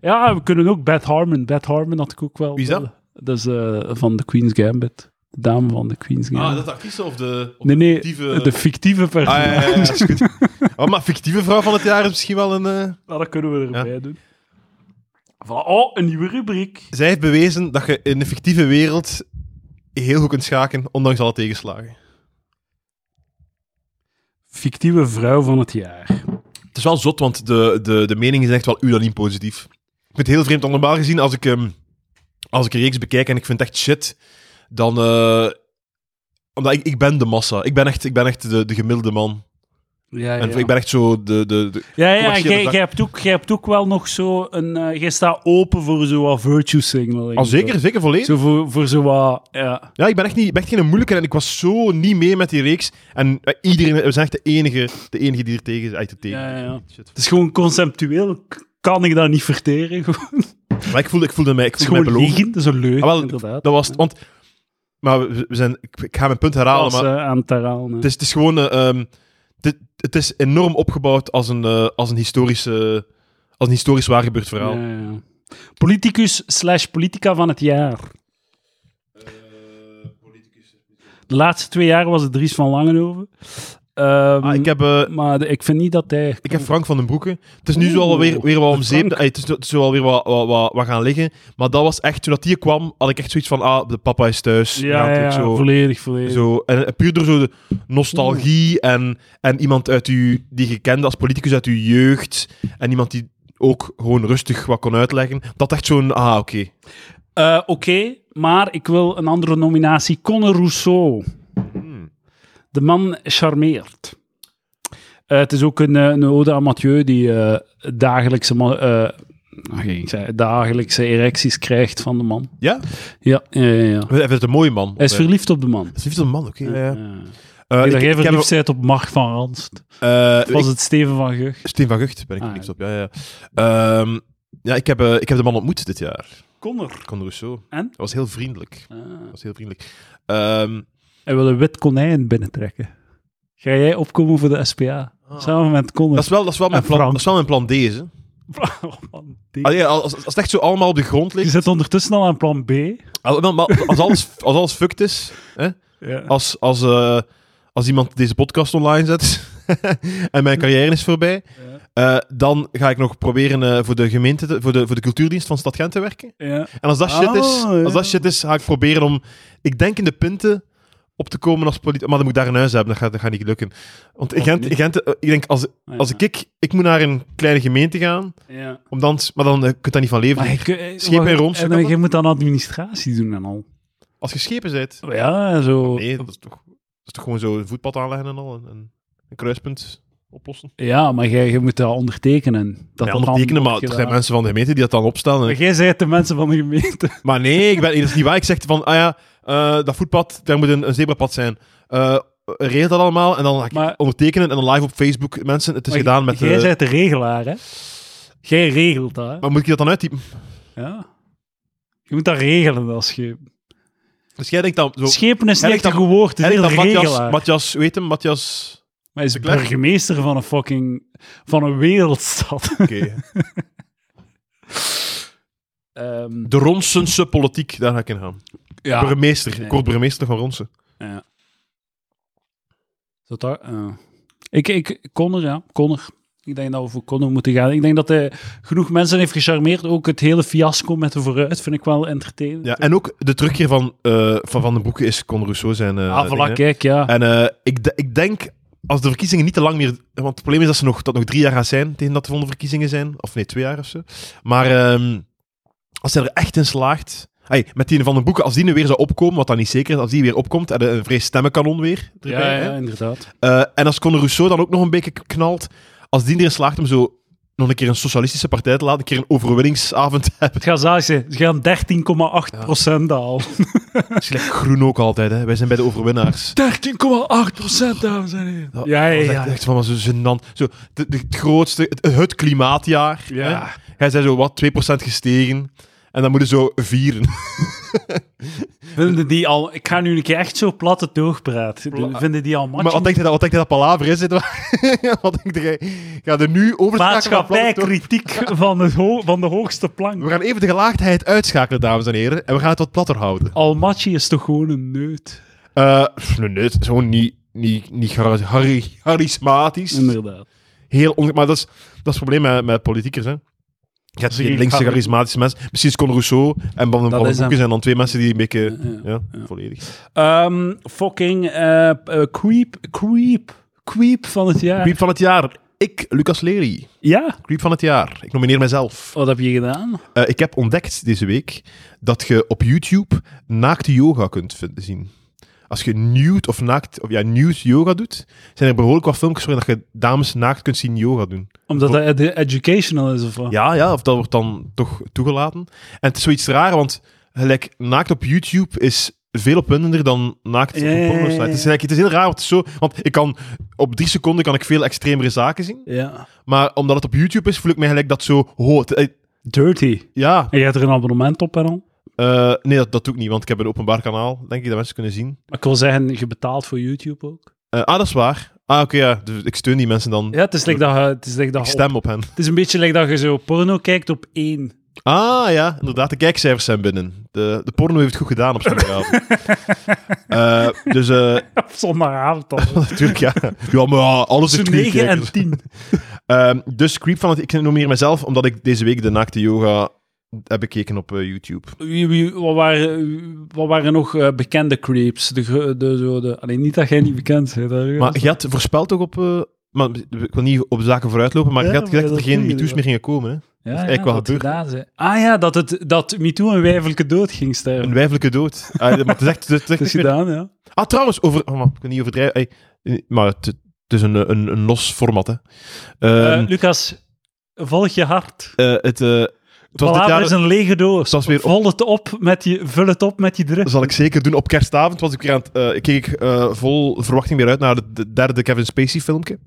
S1: ja, we kunnen ook Beth Harmon. Beth Harmon had ik ook wel.
S2: Wie is dat?
S1: Dat is eh, van de Queen's Gambit. De dame van de Queen's Gambit.
S2: Ah, dat actrice of de... Of
S1: nee, nee,
S2: fictieve-
S1: de fictieve
S2: Ah, ja,
S1: personage.
S2: ja, ja, is goed. Oh, maar fictieve vrouw van het jaar is misschien wel een... eh,
S1: Nou, dat kunnen we erbij doen. Voilà. Oh, een nieuwe rubriek.
S2: Zij heeft bewezen dat je in de fictieve wereld heel goed kunt schaken, ondanks alle tegenslagen.
S1: Fictieve vrouw van het jaar.
S2: Het is wel zot, want de, de, de mening is echt wel unaniem positief. Ik vind het heel vreemd, want normaal gezien, als ik, ehm, als ik een reeks bekijk en ik vind het echt shit, dan... eh, omdat ik, ik ben de massa. Ik ben echt, ik ben echt de, de gemiddelde man.
S1: Ja, ja.
S2: En ik ben echt zo de... de, de
S1: ja, ja,
S2: commerciële
S1: jij,
S2: zak.
S1: jij hebt ook, jij hebt ook wel nog zo een... eh, jij staat open voor zo wat virtue signaling.
S2: Ah, zeker, zeker, volledig.
S1: Zo voor, voor zo wat... Ja.
S2: Ja, ik ben echt, niet, ik ben echt geen moeilijke en ik was zo niet mee met die reeks. En eh, iedereen, we zijn echt de enige, de enige die er tegen is. Echt de tegen.
S1: Ja, ja.
S2: Shit.
S1: Het is gewoon conceptueel. k- Kan ik dat niet verteren? Gewoon.
S2: Maar ik voelde, ik voelde mij, ik
S1: Het is
S2: voelde mij
S1: gewoon
S2: belogen.
S1: liegen. Dat is een leugen,
S2: Ah, wel,
S1: inderdaad.
S2: Dat was het. Want, maar we we zijn, ik, ik ga mijn punt
S1: Dat
S2: herhalen,
S1: was,
S2: maar
S1: eh, aan het herhalen, hè.
S2: het, is, het is gewoon... eh, ehm, dit, het is enorm opgebouwd als een, eh, als een, historische, als een historisch waargebeurd verhaal.
S1: Ja, ja, ja. Politicus slash politica van het jaar. Eh, De laatste twee jaar was het Dries van Langenhoven. Ehm,
S2: Ah, ik, heb, eh,
S1: Maar de- ik vind niet dat hij...
S2: ik heb Frank van den Broeke. Het is nu
S1: Oeh,
S2: zo alweer weer wat om zeep.
S1: Frank.
S2: eh, Het is, het is zo alweer wat, wat, wat, wat gaan liggen. Maar dat was echt, toen dat die kwam, had ik echt zoiets van, ah, de papa is thuis. We gaan
S1: Ja, ja,
S2: terug
S1: ja,
S2: zo,
S1: volledig, volledig.
S2: Zo, en puur door zo de nostalgie en, en iemand uit uw, die je kende als politicus uit uw jeugd en iemand die ook gewoon rustig wat kon uitleggen, dat echt zo'n, ah, oké.
S1: Eh, Oké, maar ik wil een andere nominatie. Conor Rousseau.
S2: Hmm.
S1: De man charmeert. Eh, het is ook een, eh, een ode amateur die eh, dagelijkse, ma- eh, ach, ik zei, dagelijkse erecties krijgt van de man.
S2: Ja?
S1: Ja, ja, ja, ja.
S2: Hij vindt het een mooie man.
S1: Hij is
S2: Hij
S1: verliefd op de man.
S2: is verliefd op een man, oké. ja, ja.
S1: Eh,
S2: Eh,
S1: ik,
S2: ik-
S1: dat jij
S2: ik heb-
S1: verliefd bent op Mark van Ranst.
S2: eh,
S1: Of was
S2: ik-
S1: het Steven van Gugh?
S2: Steen van Gucht ben ik
S1: Ah,
S2: verliefd op, ja, ja. Ehm, ja, ik heb, eh, ik heb de man ontmoet dit jaar,
S1: Connor.
S2: Conor Rousseau.
S1: En?
S2: Dat was heel vriendelijk. Dat was heel vriendelijk. Ehm,
S1: hij wil een wit konijn binnentrekken. Ga jij opkomen voor de SPA?
S2: Ah.
S1: Samen met Connor.
S2: dat, is wel, dat, is wel mijn
S1: En
S2: plan,
S1: Frank.
S2: dat is wel mijn plan deze.
S1: Oh, man, die-
S2: Allee, als, als als het echt zo allemaal op de grond ligt,
S1: Je zit ondertussen al aan plan B.
S2: Ah, wel, maar als alles, als alles fucked is, hè?
S1: Ja.
S2: Als, als, eh, als iemand deze podcast online zet en mijn carrière is voorbij, eh, dan ga ik nog proberen eh, voor de gemeente, te- voor, de, voor de cultuurdienst van Stad Gent te werken.
S1: Ja.
S2: En als dat shit is,
S1: Ah, ja.
S2: als dat shit is ga ik proberen om, ik denk in de punten op te komen als politicus. Maar dan moet ik daar een huis hebben, dat gaat, dat gaat niet lukken. Want in
S1: Of
S2: Gent,
S1: niet.
S2: in Gent, eh, ik denk, als, als ik, ik, ik moet naar een kleine gemeente gaan,
S1: Ah, Ja.
S2: om dan, maar dan eh, kun je daar niet van leven.
S1: Maar je, kun-
S2: Schip
S1: maar-
S2: en roms,
S1: en
S2: kan dat?
S1: eh, je moet dan administratie doen en al.
S2: Als je schepen bent...
S1: Ja, zo.
S2: Nee, dat is toch, dat is toch gewoon zo een voetpad aanleggen en al. En, en een kruispunt oplossen.
S1: Ja, maar jij, je moet dat ondertekenen. Dat
S2: ja,
S1: dat dan
S2: ondertekenen, maar
S1: wordt
S2: er zijn
S1: gedaan.
S2: mensen van de gemeente die dat dan opstellen.
S1: Maar jij zijt de mensen van de gemeente.
S2: Maar nee, ik ben, dat is niet waar. Ik zeg van, ah ja, eh, dat voetpad, daar moet een, een zebrapad zijn. Eh regel dat allemaal en dan ga ik
S1: Maar-
S2: ondertekenen en dan live op Facebook. Mensen, het is
S1: Maar
S2: gedaan met...
S1: jij
S2: eh,
S1: zijt de regelaar, hè? Jij regelt dat, hè?
S2: maar moet ik dat dan uittypen?
S1: Ja. Je moet dat regelen als je...
S2: Dus jij denkt dan zo...
S1: Schepen is
S2: Hij
S1: niet
S2: ligt
S1: een
S2: dan-
S1: goed woord, het
S2: Jij
S1: is
S2: denkt
S1: een
S2: dan Matthias,
S1: regelaar.
S2: Matthias... Weet hem? Matthias...
S1: Maar hij is
S2: de Klerk?
S1: burgemeester van een fucking... van een wereldstad.
S2: Oké.
S1: Ehm,
S2: De Ronsense politiek, daar ga ik in gaan.
S1: ja.
S2: Burgemeester.
S1: Nee.
S2: Ik word burgemeester van Ronsen.
S1: Zat daar, eh. ik, ik, Connor, ja, Connor. Ik denk dat we voor Connor moeten gaan. Ik denk dat hij genoeg mensen heeft gecharmeerd. Ook het hele fiasco met de vooruit vind ik wel entertainend.
S2: Ja, en ook de terugkeer van eh, van, van den Broeke is Con Rousseau zijn... eh,
S1: ah, voilà,
S2: ding, hè.
S1: kijk, ja.
S2: En eh, ik, de- ik denk, als de verkiezingen niet te lang meer... Want het probleem is dat ze nog, dat nog drie jaar gaan zijn, tegen dat de volgende verkiezingen zijn. Of nee, twee jaar of zo. Maar ehm, als zij er echt in slaagt... Ay, met die van den Broeke, als die nu weer zou opkomen, wat dan niet zeker is, als die weer opkomt, en een vrees stemmenkanon weer erbij,
S1: Ja,
S2: hè.
S1: ja, inderdaad.
S2: Eh, en als Conor Rousseau dan ook nog een beetje knalt, als die erin slaagt om zo nog een keer een socialistische partij te laten, een keer een overwinningsavond te hebben.
S1: Het gaat zalig zijn. Ze gaan 13,8 procent dalen. 13,8
S2: Slecht groen ook altijd, hè. Wij zijn bij de overwinnaars.
S1: procent, dames en heren.
S2: Dat
S1: Ja, ja,
S2: was
S1: ja.
S2: Echt, echt van, maar zo gênant. Zo, de, de- het grootste, het, het klimaatjaar.
S1: Ja.
S2: hè. Hij zei zo, wat, 2% gestegen. En dan moeten ze zo vieren.
S1: Vinden die al... Ik ga nu een keer echt zo plat het doorpraat. Vinden die al
S2: maar
S1: matchen?
S2: wat denkt hij dat, wat denkt hij dat palaver is? dit? wat denkt hij? Ga er nu over
S1: Maatschappijkritiek van, het ho- van de hoogste
S2: We
S1: plank.
S2: gaan even de gelaagdheid uitschakelen, dames en heren. En we gaan het wat platter houden.
S1: Almachi is toch gewoon een neut?
S2: Eh, pff, nee, nee, het is gewoon niet, niet, niet char- chari- charismatisch.
S1: Inderdaad.
S2: Heel onge- maar dat is, dat is het probleem met, met politiekers, hè. Je hebt
S1: Zie
S2: geen
S1: ik
S2: linkse
S1: gaan-
S2: charismatische mensen. Misschien is Con Rousseau en Van
S1: Dat
S2: den Van den
S1: is hem.
S2: Broeke zijn dan twee mensen die een beetje...
S1: Ja.
S2: Ja, volledig.
S1: Ehm, fucking eh eh, creep, creep, creep van het jaar.
S2: Creep van het jaar. Ik, Lucas Lery.
S1: Ja,
S2: Creep van het jaar. Ik nomineer mezelf.
S1: wat heb je gedaan?
S2: Eh, ik heb ontdekt deze week dat je op YouTube naakte yoga kunt vind- zien. Als je nude of naakt, of ja, nude yoga doet, zijn er behoorlijk wat filmpjes waarin dat je dames naakt kunt zien yoga doen.
S1: Omdat dat ed- educational is of wat?
S2: Ja, ja, of dat wordt dan toch toegelaten. En het is zoiets raar, want gelijk naakt op YouTube is veel opwindender dan
S1: Ja,
S2: naakt op
S1: ja, ja,
S2: een
S1: ja.
S2: pornosite. Het, is eigenlijk- het is heel raar, want, het is zo, want ik kan, op drie seconden kan ik veel extremere zaken zien.
S1: Ja.
S2: Maar omdat het op YouTube is, voel ik mij gelijk dat zo... Oh, het- eh,
S1: Dirty.
S2: ja,
S1: En je hebt er een abonnement op en al?
S2: eh, nee, dat, dat doe ik niet, want ik heb een openbaar kanaal, denk ik, dat mensen kunnen zien.
S1: Maar Ik wil zeggen, je betaalt voor YouTube ook.
S2: Eh, ah, dat is waar. Ah, oké, ja. Dus ik steun die mensen dan.
S1: Ja, het is, like dat, je- het, is like
S2: Ik
S1: dat je op-
S2: stem op hen.
S1: het is een beetje like dat je zo porno kijkt op één.
S2: Ah ja, inderdaad, de kijkcijfers zijn binnen. De, de porno heeft het goed gedaan op zondagavond. Eh dus eh,
S1: Op zondagavond al.
S2: Natuurlijk, ja. Ja, maar ja, alles is
S1: Tussen
S2: creep.
S1: 9
S2: hè.
S1: en 10.
S2: Ehm, dus creep van het... Ik nomineer mezelf, omdat ik deze week de naakte yoga heb bekeken op eh, YouTube.
S1: Wie, wie, wat, waren, wat waren nog eh, bekende creeps? De, gro- de, zo de, alleen niet dat jij niet bekend bent. hè, daar-
S2: Maar je had voorspeld toch op... eh, maar ik wil niet op zaken vooruitlopen, maar
S1: Ja,
S2: je had
S1: maar
S2: gedacht dat er
S1: dat
S2: geen
S1: doe je
S2: MeToo's
S1: wel.
S2: meer gingen komen. Hè?
S1: Ja,
S2: is eigenlijk wel
S1: dat
S2: gebeurd.
S1: gedaan zijn. Ah ja, dat, het, dat MeToo een wijfelijke dood ging sterven.
S2: Een wijfelijke dood. Ah, maar het is echt... het is echt
S1: Het is
S2: niet meer-
S1: gedaan, ja.
S2: ah, trouwens, over... oh, maar ik kan niet overdrijven. Ey, eh, maar het, het is een, eh, een, een los format, hè. Ehm,
S1: Eh, Lucas, volg je hart.
S2: eh, het, eh, het was dit
S1: Palaver
S2: jaar...
S1: is een lege doos.
S2: het was weer
S1: Vol het op met je, vul het op met je druk.
S2: Dat zal ik zeker doen. Op kerstavond was ik weer aan het, eh, keek ik eh, vol verwachting weer uit naar de, de derde Kevin Spacey filmpje.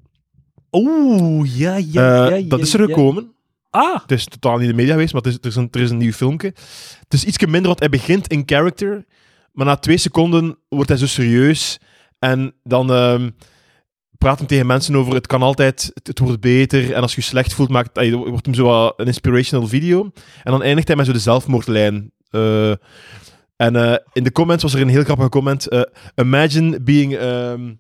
S1: Oeh, ja, ja, ja,
S2: Eh, dat
S1: ja,
S2: is er
S1: ja.
S2: gekomen.
S1: Ah,
S2: Het is totaal niet in de media geweest, maar het is, er, is een, er is een nieuw filmpje. Het is Dus ietsje minder, want hij begint in character. Maar na twee seconden wordt hij zo serieus. En dan ehm, praat hem tegen mensen over het kan altijd, het, het wordt beter. En als je je slecht voelt, maakt, ay, wordt hem zo wat een inspirational video. En dan eindigt hij met zo de zelfmoordlijn. Eh, en eh, in de comments was er een heel grappige comment. eh, Imagine being... ehm,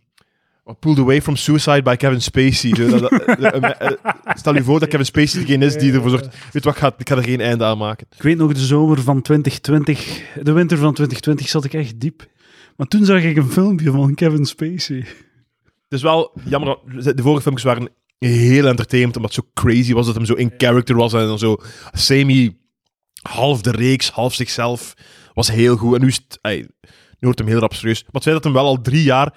S2: Pulled away from suicide by Kevin Spacey. Zo, dat- dat- eh, eh, Stel je voor dat Kevin Spacey degene is die ervoor zorgt. Weet wat, ik ga, ik ga er geen einde aan maken.
S1: ik weet nog de zomer van 2020, de winter van 2020 zat ik echt diep. Maar toen zag ik een filmpje van Kevin Spacey.
S2: Het is wel jammer, dat- de vorige filmpjes waren heel entertainend, omdat het zo crazy was dat hem zo in character was en dan zo semi half de reeks, half zichzelf. Was heel goed. En nu, is het, ey, nu wordt hem heel rap serieus. Maar het feit dat hem wel al drie jaar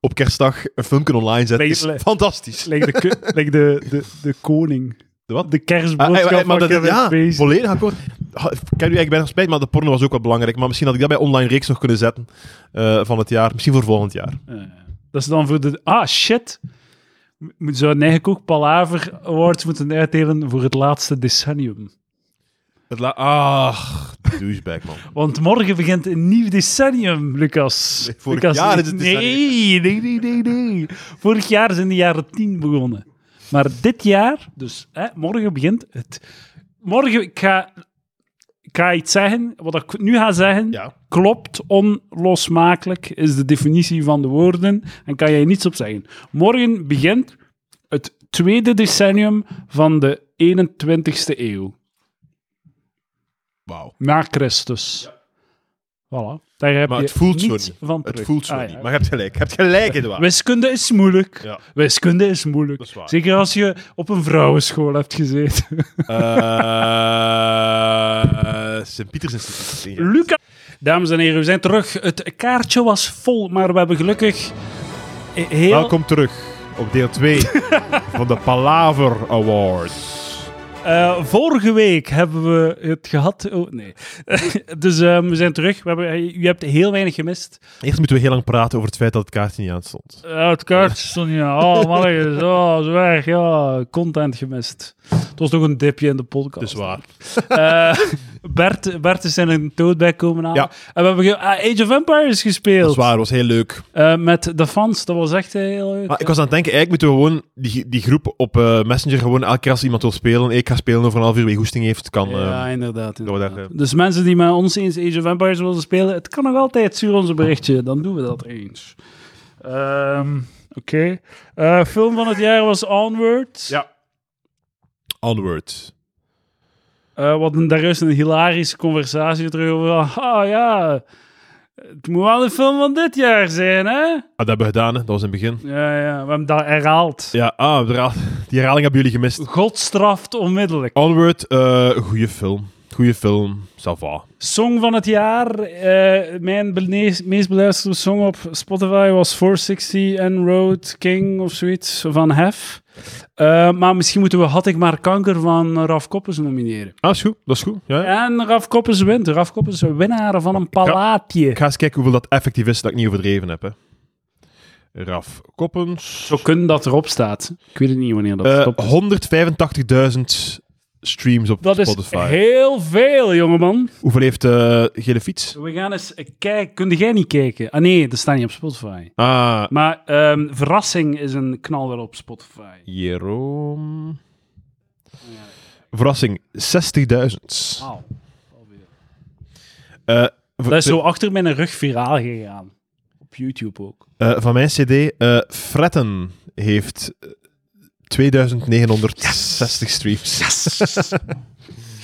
S2: op kerstdag een filmpje online zet, is
S1: Lees-
S2: fantastisch.
S1: Lijkt de, ke- like de, de, de koning.
S2: De wat?
S1: De
S2: Ah,
S1: kerstboodschap
S2: ey, ey,
S1: van
S2: maar dat,
S1: Kevin
S2: ja,
S1: Spacey.
S2: volledig akkoord. Ha, Ik heb nu eigenlijk bijna spijt, maar de porno was ook wel belangrijk. Maar misschien had ik dat bij online reeks nog kunnen zetten eh, van het jaar. Misschien voor volgend jaar.
S1: Eh, dat is dan voor de... Ah, shit. Moet- Zouden eigenlijk ook Palaver Awards moeten uitdelen voor het laatste decennium.
S2: Het la- ah, Ach, douchebag, man.
S1: Want morgen begint een nieuw decennium, Lucas.
S2: Nee, vorig
S1: Lucas,
S2: jaar is het
S1: nee, nee, nee, nee, nee. Vorig jaar zijn de jaren tien begonnen. Maar dit jaar, dus hè, morgen begint het. Morgen, ik ga, ik ga iets zeggen. Wat ik nu ga zeggen,
S2: Ja.
S1: klopt onlosmakelijk, is de definitie van de woorden. En kan jij niets op zeggen. Morgen begint het tweede decennium van de 21ste eeuw.
S2: Wauw.
S1: Na Christus. Voilà. Daar heb
S2: Maar
S1: je
S2: het voelt zo
S1: niets
S2: niet.
S1: van
S2: Het
S1: terug.
S2: voelt zo
S1: Ah, ja.
S2: niet. Maar je hebt gelijk. Je hebt gelijk, Edouard.
S1: Wiskunde is moeilijk.
S2: Ja.
S1: Wiskunde is moeilijk.
S2: Dat is waar.
S1: Zeker als je op een vrouwenschool hebt gezeten.
S2: Eh, Sint-Pieters Instituut. Ja.
S1: Luca. Dames en heren, we zijn terug. Het kaartje was vol, maar we hebben gelukkig heel...
S2: Welkom terug op deel 2 van de Palaver Awards.
S1: Eh, vorige week hebben we het gehad... Oh, nee. dus eh, we zijn terug. We hebben, eh, u hebt heel weinig gemist.
S2: Eerst moeten we heel lang praten over het feit dat het kaartje niet aan stond.
S1: Ja, het kaartje stond niet aan. Oh, mannetjes. Oh, is weg. Ja, content gemist. Het was nog een dipje in de podcast.
S2: Dat is waar.
S1: Eh, Bert, Bert is in een toadbag komen halen.
S2: Ja.
S1: En we hebben ge- ah, Age of Empires
S2: Dat is
S1: gespeeld.
S2: waar, het was heel leuk.
S1: Eh, met de fans. Dat was echt heel leuk.
S2: Maar ik was aan het denken, eigenlijk moeten we gewoon die, die groep op eh, Messenger gewoon elke keer als iemand wil spelen. Ik ga spelen over een half uur, wie goesting heeft, kan...
S1: ja,
S2: eh,
S1: inderdaad.
S2: we daar,
S1: inderdaad. Dus mensen die met ons eens Age of Empires willen spelen, het kan nog altijd. Stuur ons een berichtje, dan doen we dat eens. Ehm, Oké. Eh, film van het jaar was Onward.
S2: Ja. Onward.
S1: Eh, wat een, daar is een hilarische conversatie terug over. Ah ja, het moet wel een film van dit jaar zijn, hè?
S2: Ah, dat hebben we gedaan, hè. dat was in het begin.
S1: Ja, ja, we hebben dat herhaald.
S2: Ja, ah, de herhaal- die herhaling hebben jullie gemist.
S1: God straft onmiddellijk.
S2: Onward, eh goede film. Goede film, ça va.
S1: Song van het jaar. eh, mijn bene- meest beluisterde song op Spotify was 460 en Road King of zoiets van Hef. Eh, maar misschien moeten we Had ik maar kanker van Raf Koppers nomineren.
S2: Ah, is goed, dat is goed. Ja, ja.
S1: En Raf Koppers wint. Raf Koppers is winnaar van een palaatje.
S2: Ik ga eens kijken hoeveel dat effectief is dat ik niet overdreven heb. Hè. Raf Koppens.
S1: Zo kunnen dat erop staat. Ik weet het niet wanneer dat
S2: Eh,
S1: stopt.
S2: 185.000 streams op
S1: Dat is
S2: Spotify.
S1: heel veel, jongeman.
S2: Hoeveel heeft eh Gele Fiets?
S1: We gaan eens kijken. Kun jij niet kijken? Ah nee, dat staat niet op Spotify.
S2: Ah,
S1: Maar ehm, Verrassing is een knal wel op Spotify.
S2: Jeroen. Verrassing, 60.000.
S1: Wauw.
S2: Eh, v-
S1: Dat is zo achter mijn rug viraal gegaan. Op YouTube ook.
S2: eh, van mijn cd, eh, Fretten heeft eh, 2960 streams.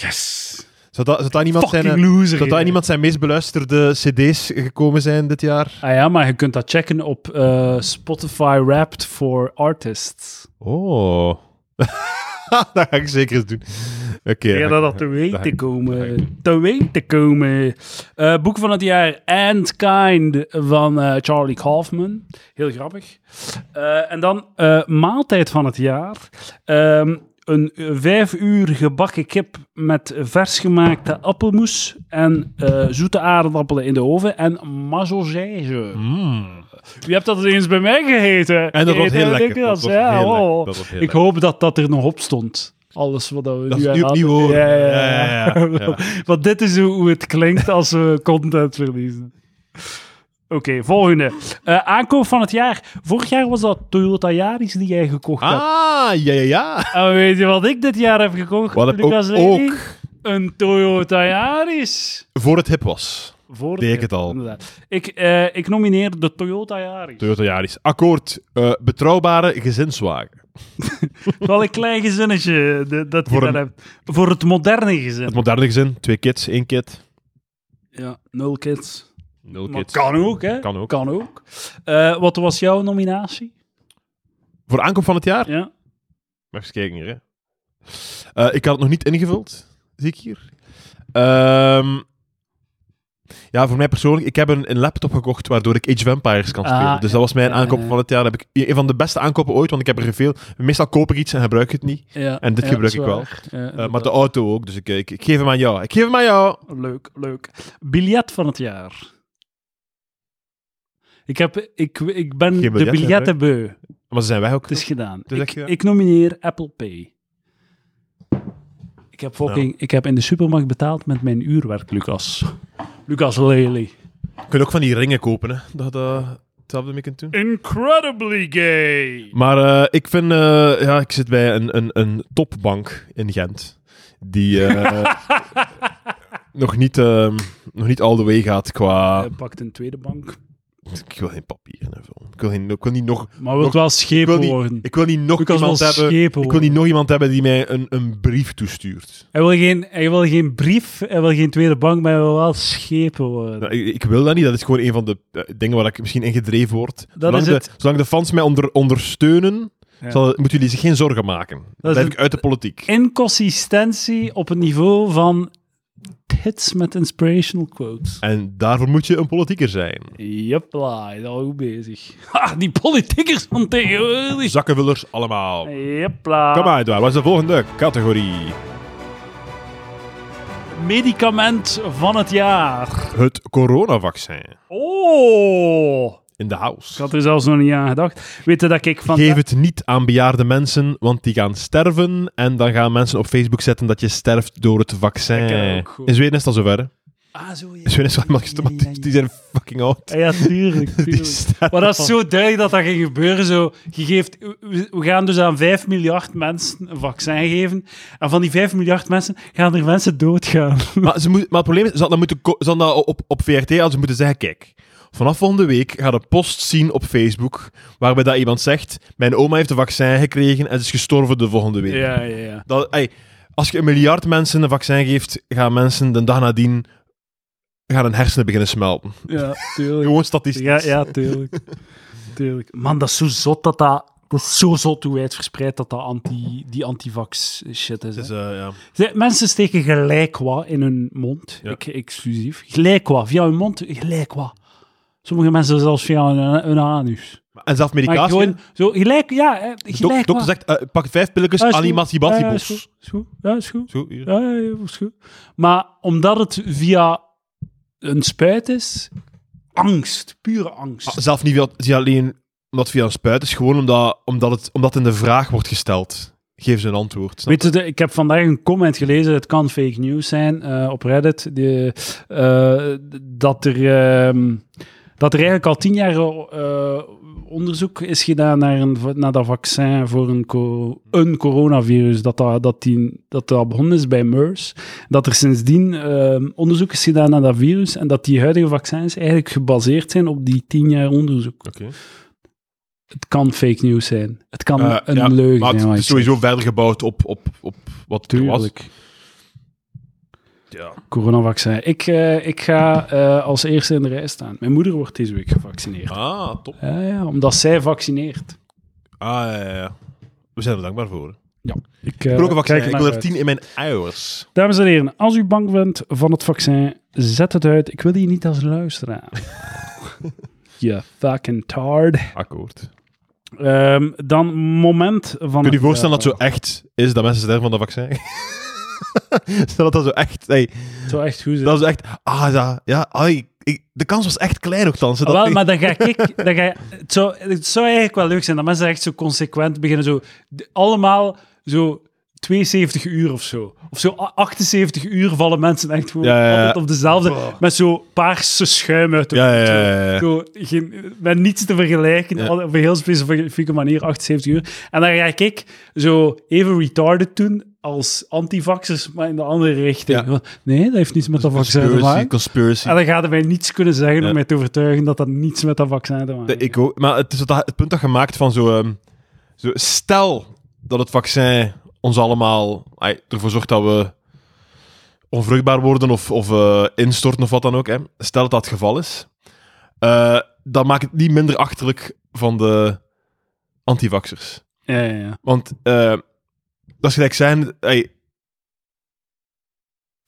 S1: Yes!
S2: Zou dat, zou dat iemand zijn...
S1: Fucking
S2: eh,
S1: loser.
S2: zou dat
S1: hè.
S2: iemand zijn meest beluisterde cd's gekomen zijn dit jaar?
S1: Ah ja, maar je kunt dat checken op eh, Spotify Wrapped for Artists.
S2: Oh. dat ga ik zeker eens doen. Oké.
S1: Ja,
S2: dan-
S1: dat dat te weten
S2: dat-
S1: komen. Te weten komen. Eh, boek van het jaar And Kind van eh, Charlie Kaufman. Heel grappig. Eh, en dan eh, maaltijd van het jaar. Ehm, een eh, vijf uur gebakken kip met versgemaakte appelmoes en eh, zoete aardappelen in de oven en mazzelzijze.
S2: Mm.
S1: U hebt dat eens bij mij gegeten.
S2: En dat was
S1: Eten
S2: heel
S1: en
S2: lekker.
S1: dikke
S2: Dat
S1: als-
S2: was
S1: ja,
S2: heel
S1: oh.
S2: lekker. Dat was heel
S1: Ik hoop dat dat er nog op stond. Alles wat we
S2: Dat
S1: nu
S2: is
S1: aan
S2: nu opnieuw
S1: hadden.
S2: horen.
S1: Ja, ja, ja.
S2: Ja, ja, ja.
S1: Want dit is hoe het klinkt als we content verliezen. Oké, volgende. Eh, aankoop van het jaar. Vorig jaar was dat Toyota Yaris die jij gekocht hebt.
S2: Ah, ja, ja, ja.
S1: En weet je wat ik dit jaar heb gekocht?
S2: Wat heb ik
S1: Lucas
S2: ook,
S1: Lely?
S2: ook
S1: Een Toyota Yaris.
S2: voor het hip was.
S1: Voor
S2: Deed ik het al.
S1: Inderdaad. Ik, eh, ik nomineer de Toyota Yaris.
S2: Toyota Yaris. Akkoord. eh, betrouwbare gezinswagen.
S1: Wel een klein gezinnetje de- dat je
S2: Voor
S1: daar
S2: een-
S1: hebt. Voor het moderne
S2: Het
S1: gezin.
S2: moderne gezin. Twee kids, één kid.
S1: Ja, nul kids.
S2: Nul
S1: Maar
S2: kids.
S1: kan ook, hè?
S2: Kan ook.
S1: Kan ook. Eh, wat was jouw nominatie?
S2: Voor aankoop van het jaar.
S1: Ja.
S2: Mag eens kijken hier, hè. Eh, ik had het nog niet ingevuld, zie ik hier. Ehm, ja, voor mij persoonlijk, ik heb een, een laptop gekocht waardoor ik Age of Empires kan
S1: Ah,
S2: spelen. Dus
S1: ja,
S2: dat was mijn
S1: ja,
S2: aankoop
S1: ja.
S2: van het jaar. Dat heb ik een van de beste aankopen ooit, want ik heb er veel. Meestal koop ik iets en gebruik ik het niet.
S1: ja
S2: En dit
S1: ja,
S2: gebruik
S1: dat
S2: ik
S1: is
S2: wel.
S1: waar. Ja,
S2: Eh, maar
S1: inderdaad.
S2: de auto ook, dus ik, ik, ik geef hem aan jou. Ik geef hem aan jou.
S1: Leuk, leuk. Biljet van het jaar. Ik, heb, ik, ik ben
S2: Geen
S1: de
S2: biljet,
S1: biljetten beu.
S2: Maar ze zijn weg ook.
S1: Het is gedaan.
S2: is echt
S1: Ik,
S2: gedaan.
S1: ik nomineer Apple Pay. Ik Ik heb,
S2: Nou.
S1: fucking, ik heb in de supermarkt betaald met mijn uurwerk, Lucas. Lucas Lely.
S2: Je kunt ook van die ringen kopen, hè. Dat eh, hetzelfde mee kunt doen.
S1: Incredibly gay.
S2: Maar eh, ik vind... eh, ja, ik zit bij een, een, een topbank in Gent. Die eh, nog, niet, eh, nog niet all the way gaat qua...
S1: Hij pakt een tweede bank.
S2: Ik wil geen papieren invullen. Ik wil, geen, ik wil niet nog...
S1: Maar wil
S2: Nog-
S1: wel
S2: Ik wil
S1: schepen
S2: niet,
S1: worden.
S2: ik wil niet nog
S1: Lucas wil
S2: iemand hebben...
S1: schepen
S2: Ik wil niet
S1: worden.
S2: nog iemand hebben die mij een, een brief toestuurt.
S1: Hij wil, geen, hij wil geen brief, hij wil geen tweede bank, maar hij wil wel schepen worden.
S2: Nou, ik, ik wil dat niet. Dat is gewoon een van de eh, dingen waar ik misschien in gedreven word. zolang,
S1: is
S2: de,
S1: het.
S2: zolang de fans mij onder, ondersteunen,
S1: Ja.
S2: zal, moeten jullie zich geen zorgen maken. Dan
S1: is
S2: blijf
S1: het.
S2: ik uit de politiek.
S1: Inconsistentie op het niveau van hits met inspirational quotes.
S2: En daarvoor moet je een politieker zijn.
S1: Jepla, daar ben ik bezig. Ha, die politiekers van tegenwoordig.
S2: Zakkenvullers allemaal.
S1: Jepla.
S2: Kom maar, Edouard. Wat is de volgende categorie?
S1: Medicament van het jaar.
S2: Het coronavaccin.
S1: Oh.
S2: In de
S1: Ik
S2: house.
S1: had er zelfs nog niet aan gedacht. Weet je dat ik van...
S2: Geef het niet aan bejaarde mensen, want die gaan sterven. En dan gaan mensen op Facebook zetten dat je sterft door het
S1: Lekker,
S2: vaccin.
S1: ook goed.
S2: In Zweden is dat zover. hè?
S1: Ah, zo ja.
S2: In Zweden is wel iemand gestopt.
S1: Ja, ja, ja.
S2: Die zijn fucking oud.
S1: Ja, ja, tuurlijk.
S2: Die
S1: tuurlijk.
S2: sterven
S1: Maar dat
S2: van-
S1: is zo duidelijk dat dat ging gebeuren. Zo. Je geeft, we we gaan dus aan 5 miljard mensen een vaccin geven. En van die 5 miljard mensen gaan er mensen doodgaan.
S2: Maar, ze moet, maar het probleem is, ze hadden dat, moeten, ko- ze hadden dat op, op VRT hadden ze moeten zeggen, kijk, vanaf volgende week gaat een post zien op Facebook waarbij dat iemand zegt, mijn oma heeft een vaccin gekregen en ze is gestorven de volgende week.
S1: Ja, ja, ja.
S2: Dat, ey, als je een miljard mensen een vaccin geeft, gaan mensen de dag nadien gaan hun hersenen beginnen smelten.
S1: Ja, tuurlijk.
S2: Gewoon statistisch.
S1: Ja, ja, tuurlijk. tuurlijk. Man, dat is zo zot dat dat... Dat is zo zot hoe wijdverspreid dat, dat anti, die antivax shit is. hè.
S2: Het is, eh, ja.
S1: Ze- Mensen steken gelijk wat in hun mond.
S2: Ja.
S1: Ik, exclusief. Gelijk wat. Via hun mond, gelijk wat. Sommige mensen zelfs via hun, hun anus.
S2: En zelf
S1: Maar
S2: medicatie.
S1: gewoon zo gelijk, ja, hè,
S2: de dok-
S1: gelijk
S2: dokter
S1: wat.
S2: zegt, eh, pak vijf pilletjes,
S1: Ja, is goed. Ja, ja, is
S2: animatiebatibos.
S1: goed. Is goed. Ja, is goed.
S2: Zo, hier.
S1: Ja, ja, ja, is goed. Maar omdat het via een spuit is, angst, pure angst.
S2: Ah, Zelf niet via, zie alleen omdat het via een spuit is, gewoon omdat, omdat, het, omdat in de vraag wordt gesteld. Geef ze een antwoord. Snap?
S1: Weet je, de- ik heb vandaag een comment gelezen, het kan fake news zijn, eh, op Reddit, die, eh, dat, er, ehm, dat er eigenlijk al tien jaar eh, onderzoek is gedaan naar, een, naar dat vaccin voor een, co- een coronavirus, dat dat, dat, die, dat dat begonnen is bij MERS, dat er sindsdien ehm, onderzoek is gedaan naar dat virus en dat die huidige vaccins eigenlijk gebaseerd zijn op die tien jaar onderzoek.
S2: Oké.
S1: Het kan fake news zijn. Het kan
S2: Eh,
S1: een
S2: ja,
S1: leugen
S2: maar
S1: zijn.
S2: het
S1: wat
S2: is
S1: ik zeg.
S2: sowieso verder gebouwd op, op, op wat er was.
S1: Tuurlijk.
S2: Ja.
S1: coronavaccin. Ik, eh, ik ga eh, als eerste in de rij staan. Mijn moeder wordt deze week gevaccineerd.
S2: Ah, top.
S1: Ja, ja, omdat zij vaccineert.
S2: Ah, ja, ja, ja. We zijn er dankbaar voor.
S1: Ik, eh,
S2: Ik wil ook een vaccin.
S1: kijk
S2: Ik
S1: ernaar
S2: wil er
S1: uit.
S2: tien in mijn ouders.
S1: Dames en heren, als u bang bent van het vaccin, zet het uit. Ik wil die niet als luisteraar. Je fucking tard.
S2: Akkoord.
S1: Ehm, dan moment van...
S2: Kun je
S1: het eh,
S2: je voorstellen dat
S1: jaar.
S2: zo echt is dat mensen sterven van dat vaccin? Stel dat dat zo echt... hey,
S1: Het zou echt goed zijn.
S2: dat is echt... Ah, ja. ja ai, ik- de kans was echt klein nogthans. hè, Dat,
S1: Wel, maar dan ga ik... Dan ga, het, zou, het zou eigenlijk wel leuk zijn dat mensen echt zo consequent beginnen. Zo, d- allemaal zo 72 uur of zo. Of zo a- 78 uur vallen mensen echt gewoon
S2: Ja, ja, ja.
S1: altijd op dezelfde... Met zo paarse schuim uit de
S2: ja, ja,
S1: mond, zo.
S2: ja, ja.
S1: Zo, geen, met niets te vergelijken,
S2: Ja.
S1: al- op een heel specifieke manier, 78 uur. En dan ga ik zo even retarded doen als antivaxers, maar in de andere richting.
S2: Ja.
S1: Want, Nee, dat heeft niets met dat vaccin te
S2: Conspiracy,
S1: maken.
S2: conspiracy.
S1: En dan gaan wij niets kunnen zeggen
S2: Ja.
S1: om mij te overtuigen dat dat niets met dat vaccin te maken
S2: Nee, ik ook. Maar het is dat, het punt dat je maakt van zo, ehm, zo... Stel dat het vaccin ons allemaal ai, ervoor zorgt dat we onvruchtbaar worden of, of eh, instorten of wat dan ook. Hè. Stel dat dat het geval is. eh, dan maakt het niet minder achterlijk van de antivaxers.
S1: Ja, ja, ja.
S2: Want eh, dat is gelijk zijn... ai,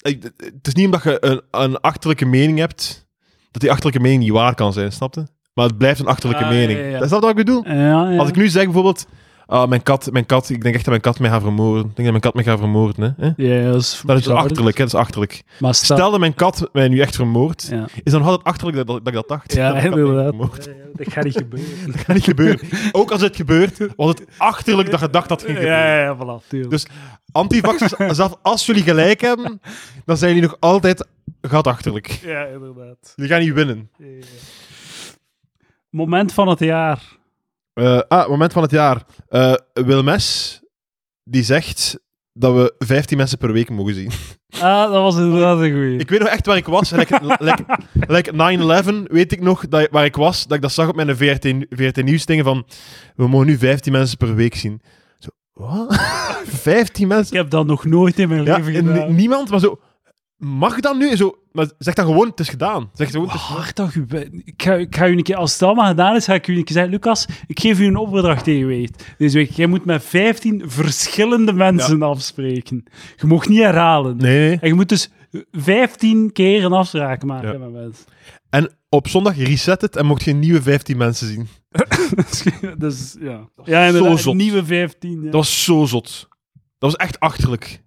S2: ai, d- het is niet omdat je een, een achterlijke mening hebt, dat die achterlijke mening niet waar kan zijn, snapte? Maar het blijft een achterlijke
S1: Ah, ja,
S2: mening.
S1: ja, ja.
S2: Dat is dat wat ik bedoel?
S1: Ja, ja.
S2: Als ik nu zeg bijvoorbeeld, ah, Ah, mijn kat, mijn kat. Ik denk echt dat mijn kat mij gaat vermoorden. Ik denk dat mijn kat mij gaat vermoorden. Hè?
S1: Ja, dat is
S2: Dat is
S1: bizar.
S2: achterlijk, hè? Dat is achterlijk.
S1: Maar sta-
S2: Stel dat mijn kat mij nu echt vermoordt,
S1: Ja.
S2: is dan altijd achterlijk dat, dat ik dat dacht.
S1: Ja,
S2: Dat mijn kat mij
S1: inderdaad.
S2: vermoordt.
S1: Dat gaat niet gebeuren.
S2: Dat gaat niet gebeuren. Ook als het gebeurt, was het achterlijk dat je dacht dat het ging gebeuren.
S1: Ja, ja, voilà. tuurlijk.
S2: Dus- Antivaxers, zelfs als jullie gelijk hebben, dan zijn jullie nog altijd gaat achterlijk.
S1: Ja, inderdaad.
S2: Jullie gaan niet winnen.
S1: Ja, ja. Moment van het jaar.
S2: Eh, ah, moment van het jaar. Eh Wilmes, die zegt dat we 15 mensen per week mogen zien.
S1: Ah, dat was inderdaad een goeie.
S2: Ik weet nog echt waar ik was. Like, like, like 9-11 weet ik nog dat, waar ik was, dat ik dat zag op mijn VRT, VRT Nieuws dingen van we mogen nu 15 mensen per week zien. Zo, wat? 15 mensen?
S1: Ik heb dat nog nooit in mijn
S2: Ja,
S1: leven
S2: en
S1: gedaan.
S2: ni- niemand, maar zo, mag dat nu? Zo, maar zeg dan gewoon, het is gedaan. Zeg gewoon,
S1: Wat
S2: het is
S1: hard dat Oh, je bent. ik ga, ik ga u een keer, als het allemaal gedaan is, ga ik u een keer zeggen, Lucas, ik geef u een opdracht tegen weet. Deze week, jij moet met 15 verschillende mensen afspreken. Je mag niet herhalen.
S2: Nee, nee.
S1: En je moet dus 15 keer een afspraak maken
S2: Ja.
S1: met mensen.
S2: En op zondag reset het en mocht je nieuwe 15 mensen zien.
S1: dus ja. Ja, inderdaad,
S2: zot.
S1: nieuwe 15. Ja.
S2: Dat was zo zot. Dat was echt achterlijk.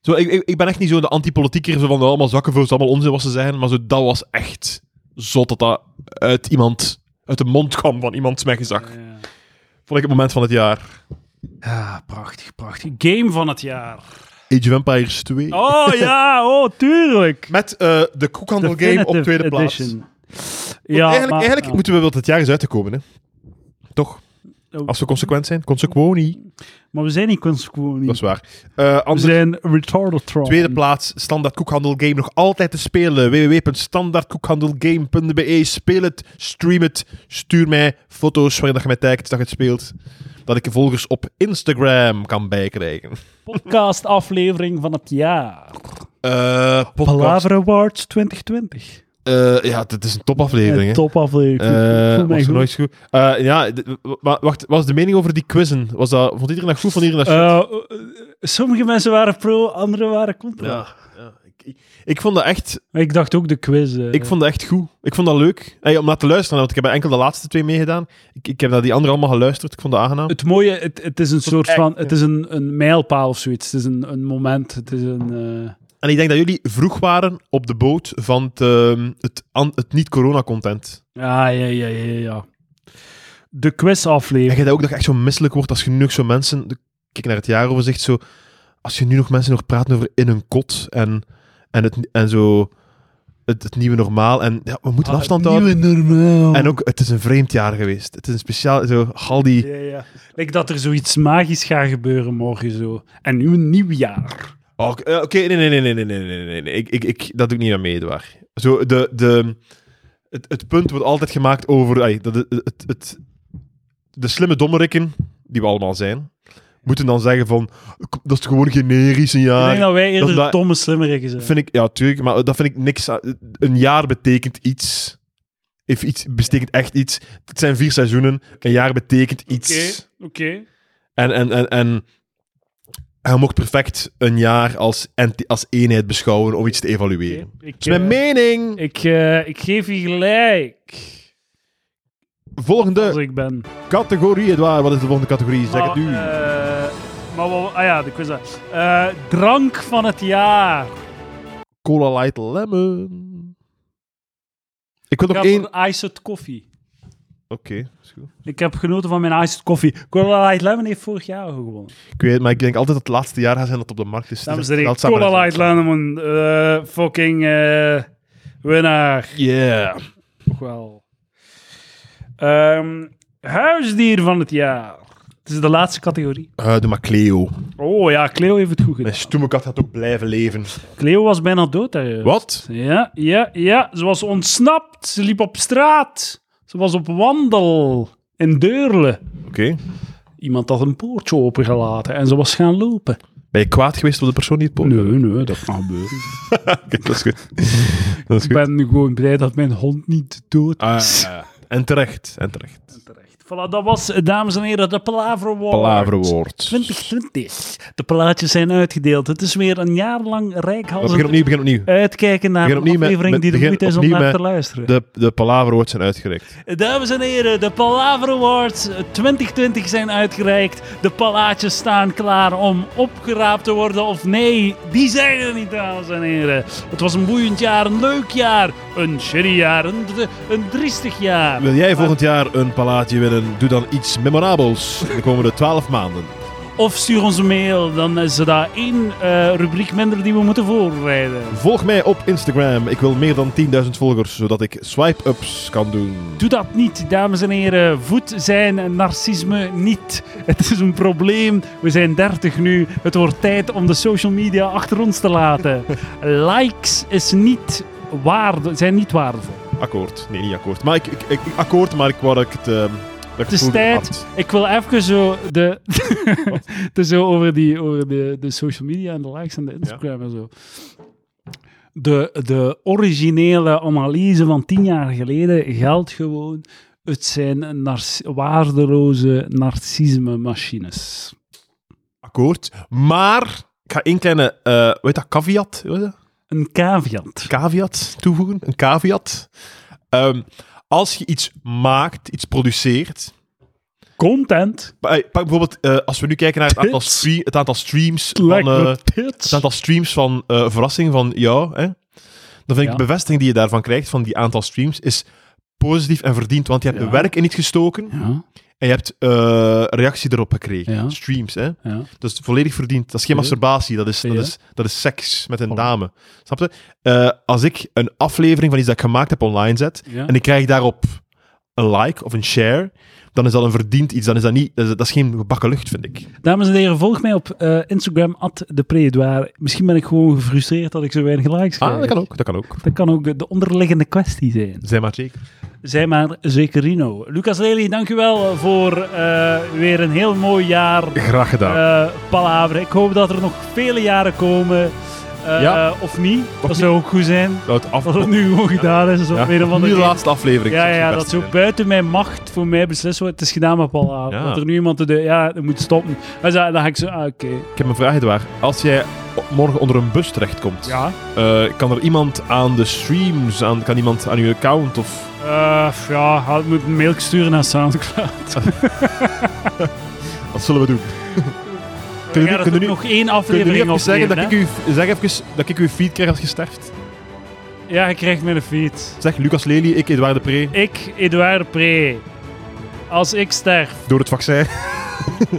S2: Zo, ik, ik, ik ben echt niet zo de antipolitieker zo van allemaal zakken voor het is allemaal onzin wat ze zeggen, maar zo, dat was echt zot dat dat uit iemand, uit de mond kwam van iemand met gezag.
S1: Ja, ja.
S2: Vond ik het moment van het jaar.
S1: Ja, prachtig, prachtig. Game van het jaar.
S2: Age of Empires 2.
S1: Oh ja, oh, tuurlijk.
S2: Met eh, de koekhandel game op
S1: Definitive
S2: tweede plaats.
S1: edition.
S2: Ja,
S1: Ja,
S2: eigenlijk
S1: maar-
S2: eigenlijk
S1: ja.
S2: moeten we wel het jaar eens uit te komen, hè. Toch?
S1: Oh.
S2: Als we consequent zijn. Consequoni.
S1: Maar we zijn niet consequent.
S2: Dat is waar. Eh
S1: We
S2: anders
S1: zijn retardatron.
S2: Tweede plaats, Standaard Koekhandel Game nog altijd te spelen. www.standaardkoekhandelgame.be Speel het, stream het, stuur mij foto's waarin dat je mij kijkt dat je het speelt. Dat ik volgers op Instagram kan bijkrijgen.
S1: podcast aflevering van het jaar.
S2: Eh podcast.
S1: Palaver Awards 2020.
S2: Eh, ja, dit is een topaflevering. hè.
S1: Top aflevering.
S2: Eh,
S1: Voel mij
S2: was
S1: goed.
S2: nooit goed. Eh, ja, d- w- wa- wacht, wat was de mening over die quizzen? Was dat, vond iedereen dat goed? Vond iedereen dat shit?
S1: Eh, eh, sommige mensen waren pro, anderen waren contra.
S2: ja, ja. Ik- Ik, ik vond dat echt
S1: Maar ik dacht ook de quiz. eh.
S2: Ik vond dat echt goed. Ik vond dat leuk. Hey, om naar te luisteren, want ik heb enkel de laatste twee meegedaan. Ik, ik heb naar die andere allemaal geluisterd. Ik vond dat aangenaam.
S1: Het mooie, het, het is een soort
S2: echt,
S1: van,
S2: ja.
S1: het is een, een mijlpaal of zoiets. Het is een, een moment, het is een... eh,
S2: En ik denk dat jullie vroeg waren op de boot van het, ehm, het, an- het niet-corona-content.
S1: Ja, ja, ja, ja, ja. De quiz
S2: En
S1: aflevering.
S2: je dat ook dat je echt zo misselijk wordt als je nu nog zo mensen... de- Kijk naar het jaaroverzicht, zo... Als je nu nog mensen nog praten over in een kot en, en, het, en zo... Het, het nieuwe normaal. En ja, we
S1: Ah,
S2: moeten afstand houden.
S1: normaal.
S2: En ook, het is een vreemd jaar geweest. Het is een speciaal... Zo, al die...
S1: Ja, ja. Like dat er zoiets magisch gaat gebeuren morgen zo. En nu een nieuw jaar.
S2: Oh, Oké, eh, oké, nee, nee, nee, nee, nee, nee, nee, nee, nee. Ik, ik, ik, dat doe ik niet aan mee, Edouard. Zo, de, de, het, het punt wordt altijd gemaakt over... ai, dat het, het, het- de slimme dommerikken, die we allemaal zijn, moeten dan zeggen van... "K- Dat is gewoon generisch, een
S1: ik
S2: jaar.
S1: denk dat wij eerder
S2: dat- dat-
S1: domme slimmerikken zijn.
S2: Vind ik, ja, tuurlijk, maar dat vind ik niks... aan- Een jaar betekent iets. Heeft iets betekent echt iets. Het zijn vier seizoenen. Een jaar betekent iets.
S1: Oké.
S2: En, en, en, en hij mocht perfect een jaar als, enti- als eenheid beschouwen om iets te evalueren.
S1: Oké. Ik,
S2: Dat is mijn
S1: eh,
S2: mening.
S1: ik, eh, ik geef je gelijk. Als
S2: Volgende
S1: ik ben.
S2: categorie, Edouard. Wat is de volgende categorie? Zeg het
S1: Maar,
S2: nu.
S1: Ah, eh, maar wel- ah ja, de quiz. eh. Eh, drank van het jaar.
S2: Cola Light Lemon. Ik wil
S1: Ik
S2: nog
S1: had
S2: één...
S1: een iced koffie.
S2: Oké, is goed.
S1: Ik heb genoten van mijn iced koffie. Cola Light Lemon heeft vorig jaar gewonnen.
S2: Ik weet het, maar ik denk altijd dat het laatste jaar gaat zijn dat op de markt is.
S1: Dames en
S2: Dat
S1: heren,
S2: is altijd
S1: Cola
S2: samen-
S1: Light Lemon. eh, fucking eh, winnaar.
S2: Yeah.
S1: Toch wel. Ehm, huisdier van het jaar. Het is de laatste categorie.
S2: Eh, doe maar Cleo.
S1: Oh ja, Cleo heeft het goed
S2: Mijn
S1: gedaan.
S2: stoeme kat gaat ook blijven leven.
S1: Cleo was bijna dood. Hè.
S2: Wat?
S1: Ja, ja, ja. Ze was ontsnapt. Ze liep op straat. Ze was op wandel. In Deurle.
S2: Oké.
S1: Iemand had een poortje opengelaten en ze was gaan lopen.
S2: Ben je kwaad geweest op de persoon die het poot?
S1: Nee, nee, dat kan gebeuren.
S2: Kijk, dat is goed. Dat is
S1: Ik
S2: goed.
S1: ben gewoon blij dat mijn hond niet dood
S2: Ah,
S1: is.
S2: ja, ja. En terecht. En terecht.
S1: Terecht. Voilà, dat was, eh, dames en heren, de Palaver Award.
S3: Palaverwoord.
S1: 2020. De plaatjes zijn uitgedeeld. Het is weer een jaar lang
S3: Begin
S1: rijkhalsend
S3: opnieuw, begin opnieuw.
S1: Eh, uitkijken naar
S3: Begin
S1: een
S3: opnieuw met-
S1: aflevering
S3: met-
S1: die de
S3: begin
S1: moeite is om
S3: opnieuw
S1: naar
S3: met
S1: te luisteren.
S3: De, de palaverwoord zijn uitgereikt.
S1: Dames en heren, de Palaver Awards 2020 zijn uitgereikt. De palaatjes staan klaar om opgeraapt te worden of nee. Die zijn er niet, dames en heren. Het was een boeiend jaar, een leuk jaar, een shitty jaar, een, dr- een driestig jaar.
S2: Wil jij volgend jaar een palaatje winnen? Doe dan iets memorabels in de komende 12 maanden.
S1: Of stuur ons een mail, dan is er daar één eh, rubriek minder die we moeten voorbereiden.
S2: Volg mij op Instagram. Ik wil meer dan 10.000 volgers, zodat ik swipe-ups kan doen.
S1: Doe dat niet, dames en heren. Voed zijn narcisme niet. Het is een probleem. We zijn 30 nu. Het wordt tijd om de social media achter ons te laten. Likes is niet waarde, zijn niet waardevol.
S2: Akkoord. Nee, niet akkoord. Maar ik, ik, ik- akkoord, maar ik wou dat ik het... ehm, dat ik
S1: Het is
S2: vroeger
S1: tijd.
S2: had.
S1: Ik wil even zo, de, de zo over, die, over de, de social media en de likes en de Instagram en zo. De, de originele analyse van tien jaar geleden geldt gewoon. Het zijn narci- waardeloze narcisme-machines.
S2: Akkoord. Maar ik ga één kleine... eh weet dat? Caveat? Hoe heet dat?
S1: Een caveat.
S2: caveat toevoegen, een caveat. Ehm, als je iets maakt, iets produceert.
S1: Content.
S2: bij- pak bijvoorbeeld, eh, als we nu kijken naar het aantal,
S1: Tits.
S2: stre- het aantal streams. Van,
S1: Like
S2: eh,
S1: the
S2: het
S1: tits.
S2: aantal streams van eh, verrassing van jou. Hè? Dan vind ik
S1: Ja.
S2: de bevestiging die je daarvan krijgt, van die aantal streams, is positief en verdiend. Want je hebt
S1: Ja.
S2: werk in iets gestoken
S1: Ja,
S2: en je hebt eh, reactie erop gekregen.
S1: Ja.
S2: Streams, hè?
S1: ja.
S2: Dat is volledig verdiend. Dat is geen
S1: Ja.
S2: masturbatie. Dat is, dat,
S1: Ja.
S2: is, dat is seks met een
S1: Oh.
S2: dame. Snap je? Eh, als ik een aflevering van iets dat ik gemaakt heb online zet.
S1: Ja.
S2: en ik krijg daarop een like of een share. dan is dat een verdiend iets. Dan is dat, niet, dat, is, dat is geen gebakken lucht, vind ik.
S1: Dames en heren, volg mij op eh, Instagram, at Misschien ben ik gewoon gefrustreerd dat ik zo weinig likes krijg.
S2: Ah, dat kan ook. Dat kan ook.
S1: Dat kan ook de onderliggende kwestie zijn.
S2: Zij maar zeker.
S1: Zij maar zeker Rino. Lucas Lely, dankjewel voor eh, weer een heel mooi jaar
S2: Graag gedaan.
S1: eh palaver. Ik hoop dat er nog vele jaren komen. Eh,
S2: Ja.
S1: Of niet. dat zou ook goed zijn.
S2: Laat het af.
S1: Dat het nu gewoon gedaan is.
S2: Ja.
S1: Ja. Een of
S2: Nu
S1: andere
S2: de
S1: reden.
S2: laatste aflevering.
S1: Ja,
S2: zou
S1: ja,
S2: het
S1: dat
S2: beste
S1: zo
S2: zijn.
S1: buiten mijn macht voor mij beslissen wordt. Het is gedaan met Palaver.
S2: Ja.
S1: Dat er nu iemand de, ja, dat moet stoppen. En dan dan ga ik zo, ah, oké.
S2: Ik heb een vraag, Edouard. Als jij o- morgen onder een bus terechtkomt.
S1: Ja.
S2: eh, kan er iemand aan de streams. Aan, kan iemand aan uw account of.
S1: Eh, ja, ik moet een mail sturen naar Soundcloud.
S2: Wat zullen we doen?
S1: We
S2: Kunnen we-
S1: gaan
S2: kunnen
S1: er
S2: we nu-
S1: nog één
S2: Kun je nu
S1: aflevering
S2: even zeggen
S1: opnemen,
S2: dat ik,
S1: hè?
S2: u, zeg even dat ik uw feed krijg als je sterft?
S1: Ja, je krijgt mijn feed.
S2: Zeg Lucas Lely, ik Edouard de Pre,
S1: Ik, Edouard Pre, als ik sterf
S2: door het vaccin.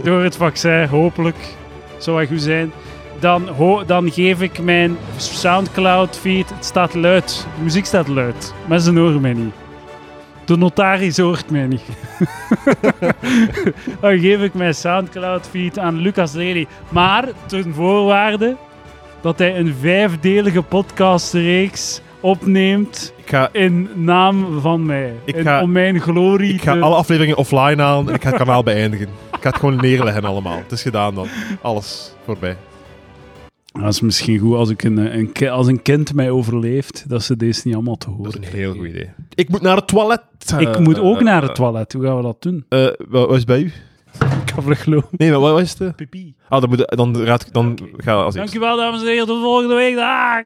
S1: door het vaccin, hopelijk, zou hij goed zijn, dan, ho- dan geef ik mijn Soundcloud-feed, het staat luid, de muziek staat luid. Mensen horen mij niet. De notaris hoort mij niet. dan geef ik mijn Soundcloud-feed aan Lucas Lely. Maar ten voorwaarde dat hij een vijfdelige podcastreeks opneemt
S2: Ik ga,
S1: in naam van mij.
S2: Ik
S1: In-
S2: ga-
S1: om mijn glorie
S2: ik ga
S1: te-
S2: alle afleveringen offline halen en ik ga het kanaal beëindigen. Ik ga het gewoon neerleggen allemaal. Het is gedaan dan. Alles voorbij.
S1: Dat is misschien goed als, ik een, eh, een, ki- als een kind mij overleeft, dat ze deze niet allemaal te horen
S2: Dat is een heel
S1: krijgen.
S2: goed idee. Ik moet naar het toilet.
S1: Ik
S2: Eh,
S1: moet ook
S2: eh,
S1: naar het toilet. Hoe gaan we dat doen?
S2: eh, eh, wat wat is het bij u?
S1: Ik ga vlug lopen.
S2: Nee, maar wat wat is het? eh? Ah, dan, moet, dan raad ik... Dan ga als eerste.
S1: Dankjewel, dames en heren. Tot volgende week. Dag!